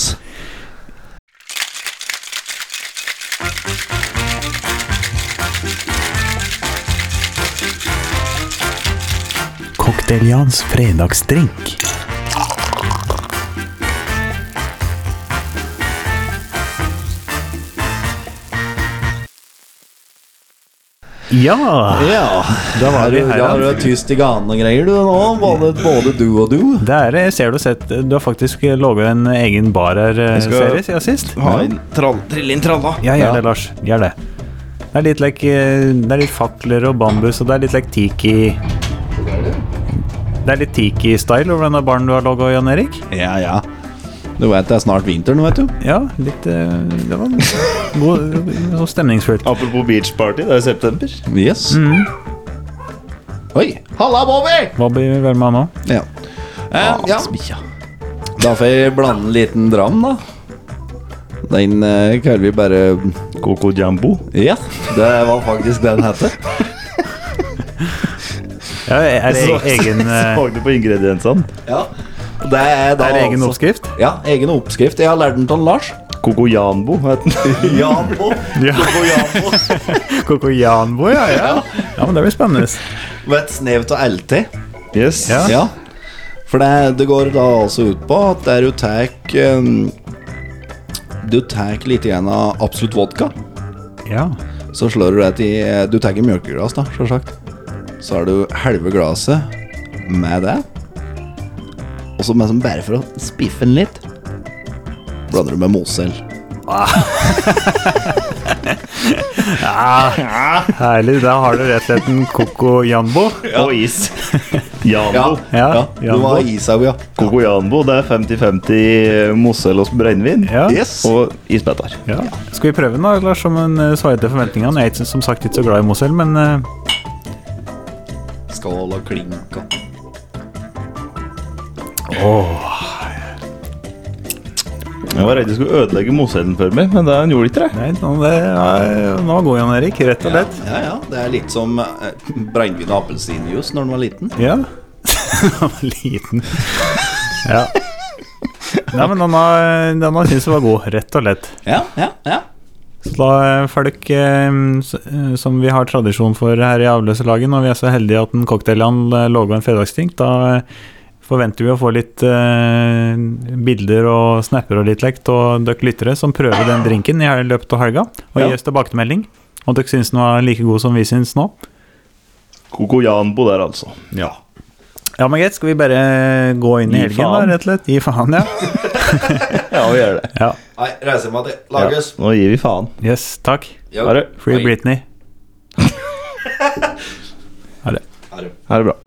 [SPEAKER 2] Cocktail Jans fredagsdrink. Ja!
[SPEAKER 3] Ja.
[SPEAKER 2] Da var
[SPEAKER 3] Er
[SPEAKER 2] vi
[SPEAKER 3] du,
[SPEAKER 2] her.
[SPEAKER 3] har du
[SPEAKER 2] ja.
[SPEAKER 3] vært tyst i ganen og greier, du nå? Både, både du og du.
[SPEAKER 2] Det er, jeg eh, ser du, har sett, du har faktisk eh, laget en egen bar her, eh,
[SPEAKER 1] skal-
[SPEAKER 2] serie, siden sist.
[SPEAKER 1] Ha en trall, trille inn tralla.
[SPEAKER 2] Ja, gjør det, Lars. Gjør det. Det er litt like, eh, det er litt fakler og bambus, og det er litt like tiki Det er litt tiki-style over denne baren du har laga, Jan Erik.
[SPEAKER 3] Ja, ja. Du vet det er snart vinter nå, vet du.
[SPEAKER 2] Ja, litt eh, Det [laughs] var god, sånn stemningsfullt.
[SPEAKER 1] Apropos beachparty, det er i september.
[SPEAKER 3] Yes. Oi. Mm. Halla, Bobby!
[SPEAKER 2] Hva blir vel med han nå?
[SPEAKER 3] Ja. Eh, ja. Da får jeg blande en liten dram, da. Den eh, kaller vi bare
[SPEAKER 1] Coco Jambo.
[SPEAKER 3] Ja, det var faktisk det den heter.
[SPEAKER 2] Ja, er det e- egen, [laughs] eh,
[SPEAKER 1] [laughs] Så du på ingrediensene?
[SPEAKER 3] Ja. Det er da
[SPEAKER 2] er det egen
[SPEAKER 3] altså-
[SPEAKER 2] oppskrift? [laughs]
[SPEAKER 3] Ja, egen oppskrift. Jeg har lært den av Lars.
[SPEAKER 1] Coco Janbo heter den.
[SPEAKER 3] Jambo.
[SPEAKER 2] Ja. Kokoyanbo, ja, ja. Ja, men det blir spennende.
[SPEAKER 3] Med et snev av LT.
[SPEAKER 1] [laughs] Yes.
[SPEAKER 2] Ja.
[SPEAKER 3] Ja. For det, det går da altså ut på at der du tar um, Du tar litt igjen av absolutt vodka.
[SPEAKER 2] Ja.
[SPEAKER 3] Så slår du det til eh, Du tar ikke mjølkeglass, da, sjølsagt. Så har du halve glasset med det. Og så med som bare for å spiffe den litt, blander du med Mosel.
[SPEAKER 2] Herlig. Da har du rett og slett en kokoyanbo.
[SPEAKER 1] Og is. Janbo.
[SPEAKER 2] Ja,
[SPEAKER 3] Du var i Isau, ja.
[SPEAKER 1] Coco Janbo, det er 50-50 Mosell og brennevin.
[SPEAKER 2] Ja.
[SPEAKER 3] Yes.
[SPEAKER 1] Og isbiter.
[SPEAKER 2] Ja. Skal vi prøve den, da, Lars, som en eh, svar til forventningene? Jeg er ikke- som sagt ikke så glad i Mosell, men eh,
[SPEAKER 3] Skål og klinka.
[SPEAKER 1] Jeg var redd du skulle ødelegge Mosellen for meg, men det han gjorde ikke det.
[SPEAKER 2] nei, nå, det er, nå går Jan Erik, rett og slett.
[SPEAKER 3] Ja, ja. Det er litt som eh, brennevin og appelsinjuice når den var liten.
[SPEAKER 2] Ja. [laughs] Han var liten. Ja. Nei, men han har, han har syntes det var god, rett og slett.
[SPEAKER 3] Ja, ja, ja.
[SPEAKER 2] Så da eh, får dere, eh, s- eh, som vi har tradisjon for her i Avløserlaget, når vi er så heldige at en cocktailhandel eh, lager en fredagsting, da eh, forventer vi å få litt eh, bilder og snapper og litt lekt og dere lyttere som prøver den drinken i hel- løpet av helga, og
[SPEAKER 1] Ja.
[SPEAKER 2] gir oss tilbakemelding. Og dere syns den var like god som vi syns nå.
[SPEAKER 1] Coco Janbo der, altså.
[SPEAKER 3] Ja.
[SPEAKER 2] Ja, men greit, skal vi bare gå inn
[SPEAKER 1] Gi
[SPEAKER 2] i helgen,
[SPEAKER 1] faen.
[SPEAKER 2] da, rett og slett? Gi faen, ja.
[SPEAKER 1] [laughs] Ja, vi gjør det.
[SPEAKER 2] ja.
[SPEAKER 3] Nei, reiser meg til
[SPEAKER 1] Ja.
[SPEAKER 3] Lages.
[SPEAKER 1] Nå gir vi faen.
[SPEAKER 2] Yes, takk.
[SPEAKER 3] Ja.
[SPEAKER 1] Ha det.
[SPEAKER 2] Free
[SPEAKER 3] Oi.
[SPEAKER 2] Britney. Ha det.
[SPEAKER 1] Ha det bra.